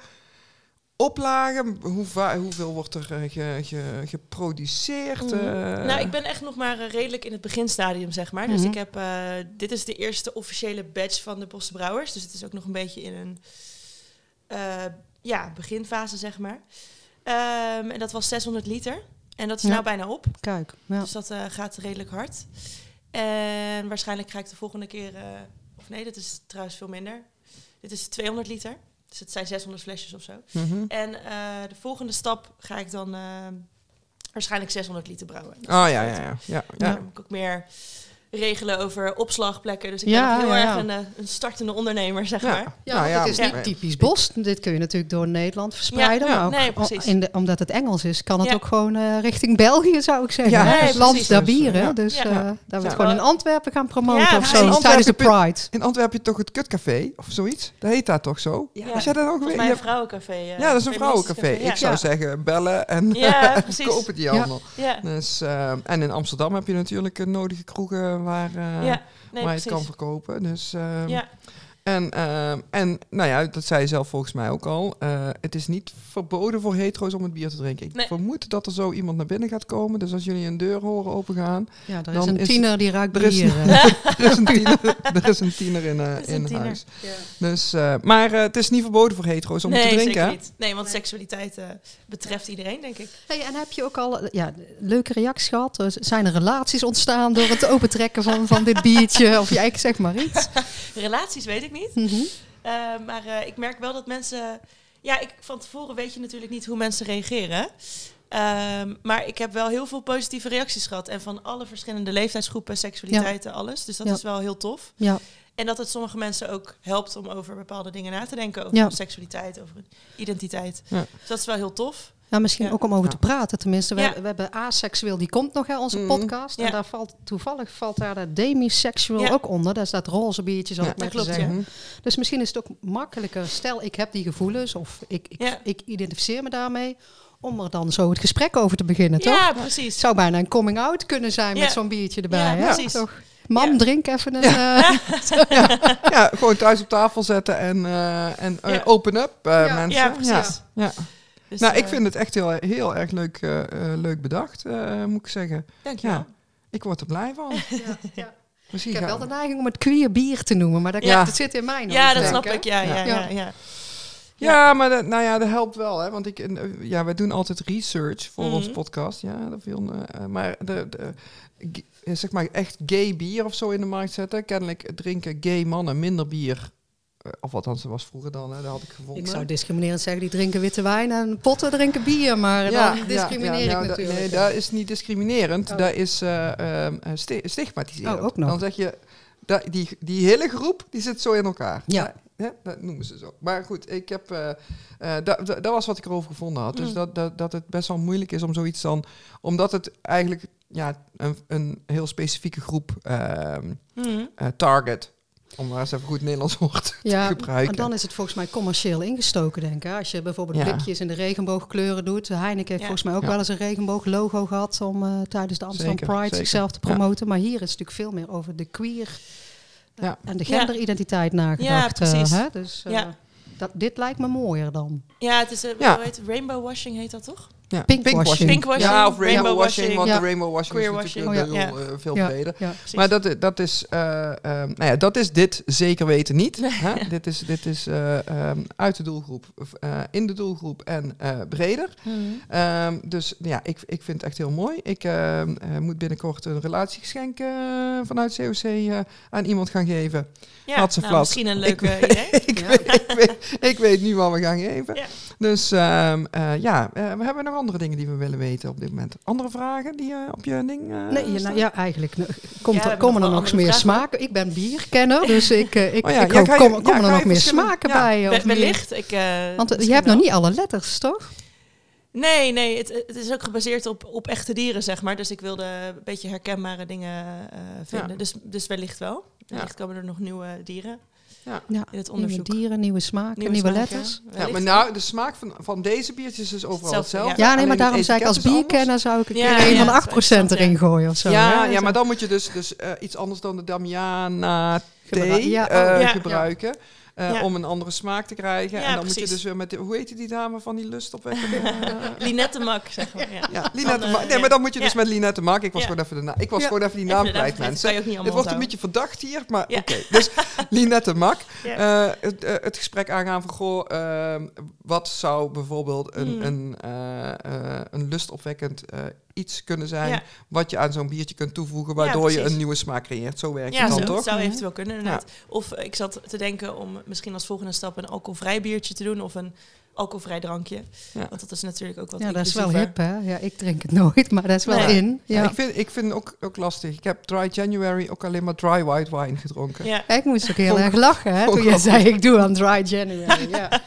Speaker 2: oplagen? Hoe va- hoeveel wordt er eh, ge- ge- geproduceerd?
Speaker 3: Mhm.
Speaker 2: eh?
Speaker 3: Nou, ik ben echt nog maar eh, redelijk in het beginstadium, zeg maar. Dus
Speaker 1: Mhm.
Speaker 3: ik heb, eh, dit is de eerste officiële badge van de Bosse Brouwers. Dus het is ook nog een beetje in een eh, ja, beginfase, zeg maar. Ehm, en dat was 600 liter. En dat is
Speaker 1: Ja.
Speaker 3: nou bijna op.
Speaker 1: Kijk, ja.
Speaker 3: Dus dat eh, gaat redelijk hard. En waarschijnlijk ga ik de volgende keer... eh, of nee, dat is trouwens veel minder. Dit is 200 liter. Dus het zijn 600 flesjes of zo.
Speaker 2: Mhm.
Speaker 3: En eh, de volgende stap ga ik dan eh, waarschijnlijk 600 liter brouwen.
Speaker 2: Oh ja, ja, ja. ja,
Speaker 3: Ja.
Speaker 2: ja.
Speaker 3: Dan Nou, moet ik ook meer regelen over opslagplekken. Dus ik
Speaker 1: Ja,
Speaker 3: ben nog heel
Speaker 1: ja,
Speaker 3: erg
Speaker 1: ja.
Speaker 3: een, eh, een startende ondernemer, zeg
Speaker 2: Ja.
Speaker 3: maar.
Speaker 1: Ja,
Speaker 2: Nou
Speaker 1: want
Speaker 2: ja,
Speaker 1: het is
Speaker 2: ja.
Speaker 1: niet typisch Bos. Dit kun je natuurlijk door Nederland verspreiden.
Speaker 2: Ja,
Speaker 1: maar ook
Speaker 3: nee,
Speaker 1: o-
Speaker 3: precies.
Speaker 1: in de- omdat het Engels is, kan het
Speaker 3: Ja.
Speaker 1: ook gewoon eh, richting België, zou ik zeggen.
Speaker 2: Ja,
Speaker 1: hè?
Speaker 3: nee,
Speaker 1: het land
Speaker 3: precies.
Speaker 1: der bieren.
Speaker 2: Ja.
Speaker 1: Dus
Speaker 3: Ja.
Speaker 1: eh, daar we het
Speaker 2: Ja.
Speaker 1: gewoon in Antwerpen gaan promoten
Speaker 3: Ja,
Speaker 1: of
Speaker 3: in
Speaker 1: zo. Tijdens de
Speaker 2: Antwerpen-
Speaker 1: Pride.
Speaker 2: In Antwerpen heb je toch het Kutcafé of zoiets? Dat heet daar toch zo?
Speaker 3: Ja.
Speaker 2: Was jij dat ook
Speaker 3: Volgens
Speaker 2: weer?
Speaker 3: mij
Speaker 2: Je
Speaker 3: een
Speaker 2: hebt-
Speaker 3: vrouwencafé. eh,
Speaker 2: Ja, dat is een
Speaker 3: feministisch
Speaker 2: vrouwencafé.
Speaker 3: café, ja.
Speaker 2: Ik zou
Speaker 3: Ja.
Speaker 2: zeggen, bellen en
Speaker 3: Ja, precies.
Speaker 2: koop het die
Speaker 1: Ja.
Speaker 2: allemaal.
Speaker 3: Ja,
Speaker 2: Dus, eh, en in Amsterdam heb je natuurlijk eh, nodige kroegen waar, eh,
Speaker 3: ja. Nee,
Speaker 2: waar je
Speaker 3: precies.
Speaker 2: het kan verkopen. Dus, eh,
Speaker 3: Ja.
Speaker 2: en, eh, en nou ja, dat zei je zelf volgens mij ook al. eh, het is niet verboden voor hetero's om het bier te drinken. Ik
Speaker 3: Nee.
Speaker 2: vermoed dat er zo iemand naar binnen gaat komen. Dus als jullie een deur horen opengaan.
Speaker 1: Ja, er is
Speaker 2: Dan
Speaker 1: een
Speaker 2: is-
Speaker 1: tiener die ruikt
Speaker 2: er is-
Speaker 1: bier. eh.
Speaker 2: er, is een tiener, er is een tiener in, eh,
Speaker 3: is een
Speaker 2: in
Speaker 3: tiener.
Speaker 2: huis.
Speaker 3: Ja.
Speaker 2: Dus, eh, maar eh, het is niet verboden voor hetero's om
Speaker 3: nee,
Speaker 2: te drinken.
Speaker 3: zeker
Speaker 2: hè?
Speaker 3: niet. Nee, want seksualiteit eh, betreft iedereen, denk ik.
Speaker 1: Hey, en heb je ook al eh, ja, leuke reacties gehad? Er z- Zijn er relaties ontstaan door het opentrekken van, van dit biertje? Of jij zeg maar iets.
Speaker 3: Relaties weet ik niet.
Speaker 1: Mhm.
Speaker 3: Eh, maar eh, ik merk wel dat mensen. Ja, ik, van tevoren weet je natuurlijk niet hoe mensen reageren. Ehm, maar ik heb wel heel veel positieve reacties gehad. En van alle verschillende leeftijdsgroepen, seksualiteiten, alles. Dus dat
Speaker 1: Ja.
Speaker 3: is wel heel tof.
Speaker 1: Ja,
Speaker 3: En dat het sommige mensen ook helpt om over bepaalde dingen na te denken. Over
Speaker 1: Ja.
Speaker 3: hun seksualiteit, over hun identiteit.
Speaker 2: Ja.
Speaker 3: Dus dat is wel heel tof.
Speaker 1: ja, misschien
Speaker 3: Ja.
Speaker 1: ook om over te
Speaker 2: Ja.
Speaker 1: praten. Tenminste, we,
Speaker 3: Ja.
Speaker 1: hebben- we hebben Asexueel, die komt nog, hè, onze
Speaker 2: Mhm.
Speaker 1: podcast.
Speaker 3: Ja.
Speaker 1: En daar valt, toevallig valt daar dat demisexual
Speaker 3: Ja.
Speaker 1: ook onder. Daar staat roze biertje, zal
Speaker 2: Ja.
Speaker 1: ik maar
Speaker 3: Dat klopt,
Speaker 1: zeggen.
Speaker 2: Mhm.
Speaker 1: Dus misschien is het ook makkelijker. Stel, ik heb die gevoelens of ik, ik,
Speaker 3: Ja.
Speaker 1: ik identificeer me daarmee. Om er dan zo het gesprek over te beginnen, toch?
Speaker 3: Ja,
Speaker 1: Het
Speaker 3: precies.
Speaker 1: zou bijna een coming out kunnen zijn
Speaker 3: Ja.
Speaker 1: met zo'n biertje erbij.
Speaker 3: Ja,
Speaker 1: hè?
Speaker 3: precies.
Speaker 1: Toch? Mam,
Speaker 3: Ja.
Speaker 1: drink even een. eh,
Speaker 2: Ja, gewoon thuis op tafel zetten en, eh, en eh,
Speaker 3: Ja.
Speaker 2: open up eh,
Speaker 1: Ja.
Speaker 2: mensen.
Speaker 3: Ja, precies.
Speaker 2: Ja. Ja.
Speaker 3: Dus,
Speaker 2: Nou, ik
Speaker 3: eh,
Speaker 2: vind het echt heel, heel erg leuk, eh, eh, leuk bedacht, eh, moet ik zeggen.
Speaker 3: Dankjewel.
Speaker 2: ja. Ik word er blij van. Misschien
Speaker 1: Ik heb wel
Speaker 2: gaan
Speaker 1: de
Speaker 2: we-
Speaker 1: neiging om het queer bier te noemen, maar dat,
Speaker 2: Ja.
Speaker 1: dat zit in mijn
Speaker 3: Ja,
Speaker 1: hoofd,
Speaker 3: dat
Speaker 1: denk
Speaker 3: snap
Speaker 1: hè?
Speaker 3: ik. Ja, ja,
Speaker 1: Ja.
Speaker 3: ja. ja.
Speaker 2: ja. maar dat, nou ja, dat helpt wel. Hè? Want ik, en, eh, ja, wij doen altijd research voor
Speaker 3: Mhm.
Speaker 2: onze podcast. Ja, dat viel, eh, eh, maar de, de, g- eh, zeg maar echt gay bier of zo in de markt zetten. Kennelijk drinken gay mannen minder bier. Eh, of althans, dat was vroeger dan. Hè? Dat had ik gevonden.
Speaker 1: Ik zou discriminerend zeggen, die drinken witte wijn en potten drinken bier, maar dan discrimineer
Speaker 2: ja, nou,
Speaker 1: ik
Speaker 2: dat-
Speaker 1: natuurlijk.
Speaker 2: Nee, dat is niet discriminerend.
Speaker 1: Oh.
Speaker 2: Dat is eh, ehm, eh, sti- stigmatiserend.
Speaker 1: Oh, ook nog.
Speaker 2: Dan zeg je, dat, die, die hele groep die zit zo in elkaar.
Speaker 1: Ja.
Speaker 2: Hè? Dat noemen ze zo. Maar goed, ik heb, eh, eh, dat, dat, dat was wat ik erover gevonden had. Dus
Speaker 3: Mm.
Speaker 2: dat, dat, dat het best wel moeilijk is om zoiets dan... Omdat het eigenlijk ja, een, een heel specifieke groep ehm,
Speaker 3: Mhm.
Speaker 2: eh, target... Om maar eens even goed Nederlands woord te
Speaker 1: ja, en
Speaker 2: gebruiken.
Speaker 1: dan is het volgens mij commercieel ingestoken, denk ik. hè. Als je bijvoorbeeld
Speaker 2: Ja.
Speaker 1: blikjes in de regenboogkleuren doet. Heineken heeft
Speaker 3: Ja.
Speaker 1: volgens mij ook
Speaker 2: Ja.
Speaker 1: wel eens een regenbooglogo gehad om eh, tijdens de Amsterdam
Speaker 2: Zeker,
Speaker 1: Pride
Speaker 2: zeker.
Speaker 1: zichzelf te promoten. Maar hier is het natuurlijk veel meer over de queer eh,
Speaker 2: Ja.
Speaker 1: en de genderidentiteit nagedacht.
Speaker 3: Ja,
Speaker 1: eh,
Speaker 3: precies.
Speaker 1: hè? Dus eh,
Speaker 3: Ja.
Speaker 1: dat, dit lijkt me mooier dan.
Speaker 3: Ja, het is, eh,
Speaker 2: Ja.
Speaker 3: hoe heet het? rainbow washing heet dat toch?
Speaker 2: Ja.
Speaker 1: Pinkwashing.
Speaker 3: Pinkwashing,
Speaker 2: Ja, of rainbow
Speaker 3: rainbowwashing.
Speaker 2: washing. Want
Speaker 1: Ja.
Speaker 2: de rainbow washing is
Speaker 3: Queerwashing.
Speaker 2: natuurlijk eh,
Speaker 3: Oh, ja.
Speaker 2: heel, eh, veel
Speaker 1: Ja.
Speaker 2: breder.
Speaker 1: Ja.
Speaker 2: Maar dat, i- dat, is, eh, ehm, nou ja, dat is dit zeker weten niet. Hè? dit is, dit is eh, ehm, uit de doelgroep, of, eh, in de doelgroep en eh, breder.
Speaker 3: Mhm.
Speaker 2: Ehm, dus ja, ik, ik vind het echt heel mooi. Ik ehm, eh, moet binnenkort een relatiegeschenk eh, vanuit COC eh, aan iemand gaan geven.
Speaker 3: Ja,
Speaker 2: Had ze
Speaker 3: nou,
Speaker 2: vlat.
Speaker 3: misschien een
Speaker 2: Ik-
Speaker 3: leuk eh, idee.
Speaker 2: ik,
Speaker 1: Ja.
Speaker 2: weet, ik, weet, ik weet nu wat we gaan geven.
Speaker 3: Ja.
Speaker 2: Dus ehm, eh, ja, eh, we hebben nog andere dingen die we willen weten op dit moment. Andere vragen die eh, op je ding eh,
Speaker 1: Nee, ja, nou,
Speaker 2: staan?
Speaker 1: ja, eigenlijk eh, komt
Speaker 3: Ja, we
Speaker 1: er,
Speaker 3: hebben nog
Speaker 1: komen
Speaker 3: wel
Speaker 1: er nog eens
Speaker 3: andere
Speaker 1: meer
Speaker 3: vragen.
Speaker 1: smaken. Ik ben bierkenner, dus ik, eh, ik,
Speaker 2: Oh ja,
Speaker 1: ik
Speaker 2: ja,
Speaker 1: hoop,
Speaker 2: ga je-
Speaker 1: komen
Speaker 2: ja,
Speaker 1: komen
Speaker 2: ga
Speaker 1: er
Speaker 2: je
Speaker 1: nog meer
Speaker 2: verschillen-
Speaker 1: smaken
Speaker 2: ja,
Speaker 1: bij?
Speaker 3: We-
Speaker 1: of niet?
Speaker 3: Wellicht. Ik, eh,
Speaker 1: Want eh, je
Speaker 3: misschien
Speaker 1: hebt
Speaker 3: wel.
Speaker 1: nog niet alle letters, toch?
Speaker 3: Nee, nee, het, het is ook gebaseerd op, op echte dieren, zeg maar. Dus ik wilde een beetje herkenbare dingen eh, vinden.
Speaker 2: Ja.
Speaker 3: Dus, dus wellicht wel. Wellicht komen er nog nieuwe dieren
Speaker 1: Ja,
Speaker 3: in het
Speaker 1: nieuwe
Speaker 3: onderzoek.
Speaker 1: dieren, nieuwe smaken, nieuwe,
Speaker 3: smaken,
Speaker 1: letters.
Speaker 2: Ja,
Speaker 3: wellicht.
Speaker 2: maar nou, de smaak van, van deze biertjes is overal
Speaker 3: Hetzelfde,
Speaker 2: hetzelfde.
Speaker 3: ja.
Speaker 1: Ja, nee, maar
Speaker 2: Alleen het
Speaker 1: daarom zei ik als
Speaker 2: etiket is anders.
Speaker 1: bierkenner zou ik er
Speaker 3: Ja,
Speaker 1: een
Speaker 3: ja,
Speaker 1: van de
Speaker 3: dat is
Speaker 1: 8%
Speaker 3: wel
Speaker 1: erin gooien of zo.
Speaker 2: Ja,
Speaker 1: hè?
Speaker 2: ja,
Speaker 1: Zo.
Speaker 2: maar dan moet je dus, dus eh, iets anders dan de Damiana
Speaker 1: Gebra-
Speaker 2: thee
Speaker 1: ja,
Speaker 2: eh,
Speaker 3: oh. Ja,
Speaker 2: gebruiken. eh,
Speaker 3: Ja.
Speaker 2: om een andere smaak te krijgen.
Speaker 3: Ja,
Speaker 2: en dan moet
Speaker 3: precies.
Speaker 2: je dus weer met, die- hoe heet die dame van die lust opwekken?
Speaker 3: Linette Mak, zeg maar. Ja.
Speaker 2: Ja, Linette
Speaker 3: eh,
Speaker 2: Mak. Nee,
Speaker 3: ja.
Speaker 2: maar dan moet je dus
Speaker 3: Ja.
Speaker 2: met Linette Mak. Ik was
Speaker 3: Ja.
Speaker 2: gewoon even, de na- ik was
Speaker 1: Ja.
Speaker 2: gewoon even die naam
Speaker 3: Even de
Speaker 2: kwijt,
Speaker 3: naam kwijt,
Speaker 2: mensen.
Speaker 3: kan je ook niet
Speaker 2: het
Speaker 3: allemaal
Speaker 2: wordt een beetje verdacht hier, maar
Speaker 3: Ja.
Speaker 2: oké. Dus Linette Mak.
Speaker 3: Ja.
Speaker 2: eh, het, eh, het gesprek aangaan van, goh, ehm, wat zou bijvoorbeeld een,
Speaker 3: Mm.
Speaker 2: een, eh, eh, een lustopwekkend eh, iets kunnen zijn...
Speaker 3: Ja.
Speaker 2: wat je aan zo'n biertje kunt toevoegen... waardoor je
Speaker 3: precies.
Speaker 2: een nieuwe smaak creëert. Zo werkt
Speaker 3: Ja,
Speaker 2: het dan,
Speaker 3: zo,
Speaker 2: toch?
Speaker 3: het zou eventueel kunnen inderdaad. Of eh, ik zat te denken om misschien als volgende stap een alcoholvrij biertje te doen of een alcoholvrij drankje.
Speaker 2: Ja.
Speaker 3: Want dat is natuurlijk ook wat
Speaker 1: Ja, dat is wel
Speaker 3: inclusiever.
Speaker 1: hip, hè? Ja, ik drink het nooit, maar dat is wel
Speaker 3: Nee.
Speaker 1: in. Ja.
Speaker 2: Ja, ik vind, ik vind het ook, ook lastig. Ik heb Dry January ook alleen maar dry white wine gedronken. Ja,
Speaker 3: Ja.
Speaker 1: Ik moest ook heel
Speaker 2: Vond-
Speaker 1: erg lachen, hè?
Speaker 2: vond
Speaker 1: Toen
Speaker 2: ik
Speaker 1: jij
Speaker 2: ook.
Speaker 1: zei, ik doe aan dry January. Ja.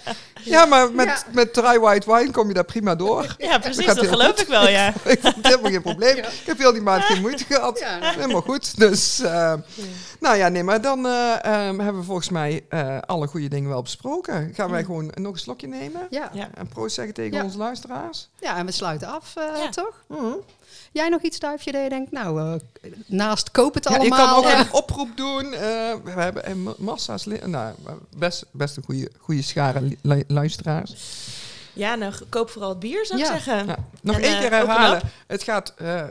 Speaker 2: maar met,
Speaker 1: Ja.
Speaker 2: met dry white wine kom je daar prima door.
Speaker 3: ja, precies.
Speaker 2: gaat
Speaker 3: Dat
Speaker 2: heel
Speaker 3: geloof ik wel, ja.
Speaker 2: ik vond het helemaal geen probleem. Ik heb heel die maand geen moeite gehad.
Speaker 1: Ja, nou.
Speaker 2: Helemaal goed. Dus, eh, nou ja, nee, maar dan eh, ehm, hebben we volgens mij eh, alle goede dingen wel besproken. Gaan wij gewoon nog een slokje nemen?
Speaker 1: Ja.
Speaker 3: Ja. Mhm,
Speaker 2: En proost zeggen tegen
Speaker 1: Ja.
Speaker 2: onze luisteraars?
Speaker 1: ja, en we sluiten af, eh,
Speaker 3: Ja.
Speaker 1: toch? Jij nog iets, Duifje, dat je denkt, nou, eh, naast koop het
Speaker 2: Ja, ik
Speaker 1: allemaal.
Speaker 2: kan ook
Speaker 1: eh,
Speaker 2: een oproep doen. Eh, we hebben eh, ma- massa's... li- Nou, best, best een goede, goede schare li- lu- luisteraars.
Speaker 3: Ja, nou, g- koop vooral het bier, zou ik
Speaker 1: Ja.
Speaker 3: zeggen.
Speaker 2: Ja, nog
Speaker 3: En,
Speaker 2: één
Speaker 3: eh,
Speaker 2: keer
Speaker 3: open
Speaker 2: herhalen. Het gaat eh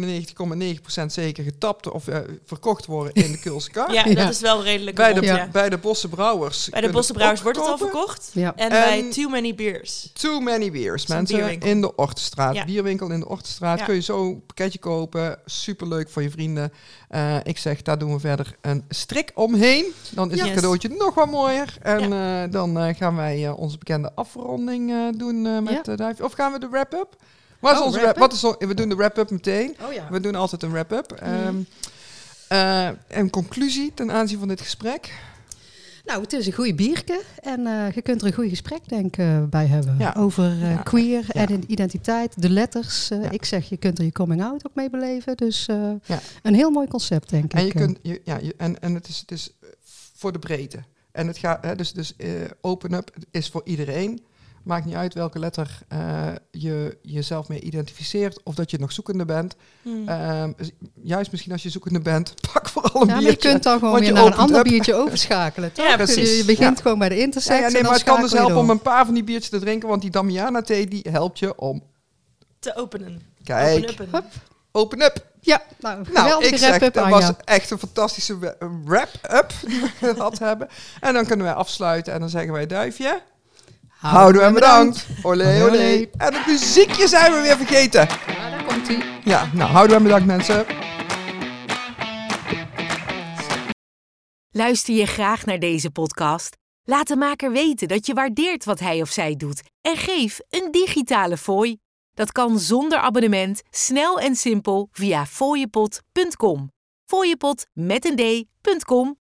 Speaker 2: 99,9% zeker getapt of eh, verkocht worden in de Keulse Kaart.
Speaker 3: Ja,
Speaker 1: Ja.
Speaker 3: dat is wel redelijk.
Speaker 2: Bij de,
Speaker 3: rond, ja.
Speaker 2: bij de Bosse Brouwers.
Speaker 3: Bij de Bossenbrouwers wordt het al verkocht.
Speaker 1: Ja.
Speaker 2: En-
Speaker 3: En bij Too Many Beers.
Speaker 2: Too many beers,
Speaker 3: Is een
Speaker 2: mensen.
Speaker 3: bierwinkel.
Speaker 2: In de Ortestraat.
Speaker 3: Ja.
Speaker 2: Bierwinkel in de Ortestraat.
Speaker 3: Ja.
Speaker 2: Kun je zo een pakketje kopen. Superleuk voor je vrienden. Eh, ik zeg, daar doen we verder een strik omheen. Dan is
Speaker 3: Ja.
Speaker 2: het
Speaker 3: Yes.
Speaker 2: cadeautje nog wat mooier. En eh, dan eh, gaan wij eh, onze bekende afronding eh, doen eh, met
Speaker 1: Ja.
Speaker 2: de duif. Of gaan we de wrap-up? Wat is
Speaker 1: Oh,
Speaker 2: onze wrap
Speaker 1: wrap-up?
Speaker 2: wat is on- we doen de wrap-up meteen.
Speaker 1: Oh ja.
Speaker 2: We doen altijd een wrap-up. Ehm, eh, een conclusie ten aanzien van dit gesprek.
Speaker 1: Nou, het is een goede bierke en eh, je kunt er een goed gesprek denk, eh, bij hebben
Speaker 2: Ja.
Speaker 1: over eh,
Speaker 2: Ja.
Speaker 1: queer
Speaker 2: Ja.
Speaker 1: en identiteit, de letters. Eh,
Speaker 2: Ja.
Speaker 1: Ik zeg, je kunt er je coming out ook mee beleven. Dus eh,
Speaker 2: Ja.
Speaker 1: een heel mooi concept, denk
Speaker 2: En,
Speaker 1: ik.
Speaker 2: je
Speaker 1: eh.
Speaker 2: kunt, je, ja, je, en, en het, is, het is eh, voor de breedte. En het gaat, hè, dus, dus eh, open up is voor iedereen. Maakt niet uit welke letter eh, je jezelf mee identificeert of dat je nog zoekende bent.
Speaker 1: Hm.
Speaker 3: Hmm.
Speaker 2: Ehm, dus juist misschien als je zoekende bent, pak vooral een
Speaker 1: ja, maar je
Speaker 2: biertje.
Speaker 1: kunt dan gewoon
Speaker 2: want
Speaker 1: weer
Speaker 2: je
Speaker 1: naar een
Speaker 2: opent
Speaker 1: ander
Speaker 2: up.
Speaker 1: biertje overschakelen. Toch?
Speaker 3: Ja,
Speaker 1: Dus
Speaker 2: precies.
Speaker 1: Je begint
Speaker 2: Ja.
Speaker 1: gewoon bij de
Speaker 2: Ja,
Speaker 1: intersex.
Speaker 2: ja, nee,
Speaker 1: en dan
Speaker 2: maar het kan dus
Speaker 1: schakel je
Speaker 2: helpen om
Speaker 1: door.
Speaker 2: een paar van die biertjes te drinken, want die Damiana thee die helpt je om.
Speaker 3: Te openen.
Speaker 2: Kijk,
Speaker 3: Open uppen.
Speaker 1: Hup.
Speaker 2: open up.
Speaker 1: Ja, nou,
Speaker 2: Nou, ik
Speaker 1: geweldige
Speaker 2: zeg,
Speaker 1: wrap-up
Speaker 2: dat
Speaker 1: aan
Speaker 2: was
Speaker 1: jou.
Speaker 2: echt een fantastische wa- wrap-up die we gehad hebben. En dan kunnen wij afsluiten en dan zeggen wij duifje. Houden en bedankt. Olé,
Speaker 1: Olé,
Speaker 2: olé.
Speaker 1: olé.
Speaker 2: En het muziekje zijn we weer vergeten.
Speaker 1: Ja, daar komt ie.
Speaker 2: Ja, nou, houden en bedankt mensen.
Speaker 4: Luister je graag naar deze podcast? Laat de maker weten dat je waardeert wat hij of zij doet en geef een digitale fooi. Dat kan zonder abonnement, snel en simpel via fooiepot.com. Fooiepot met een d.com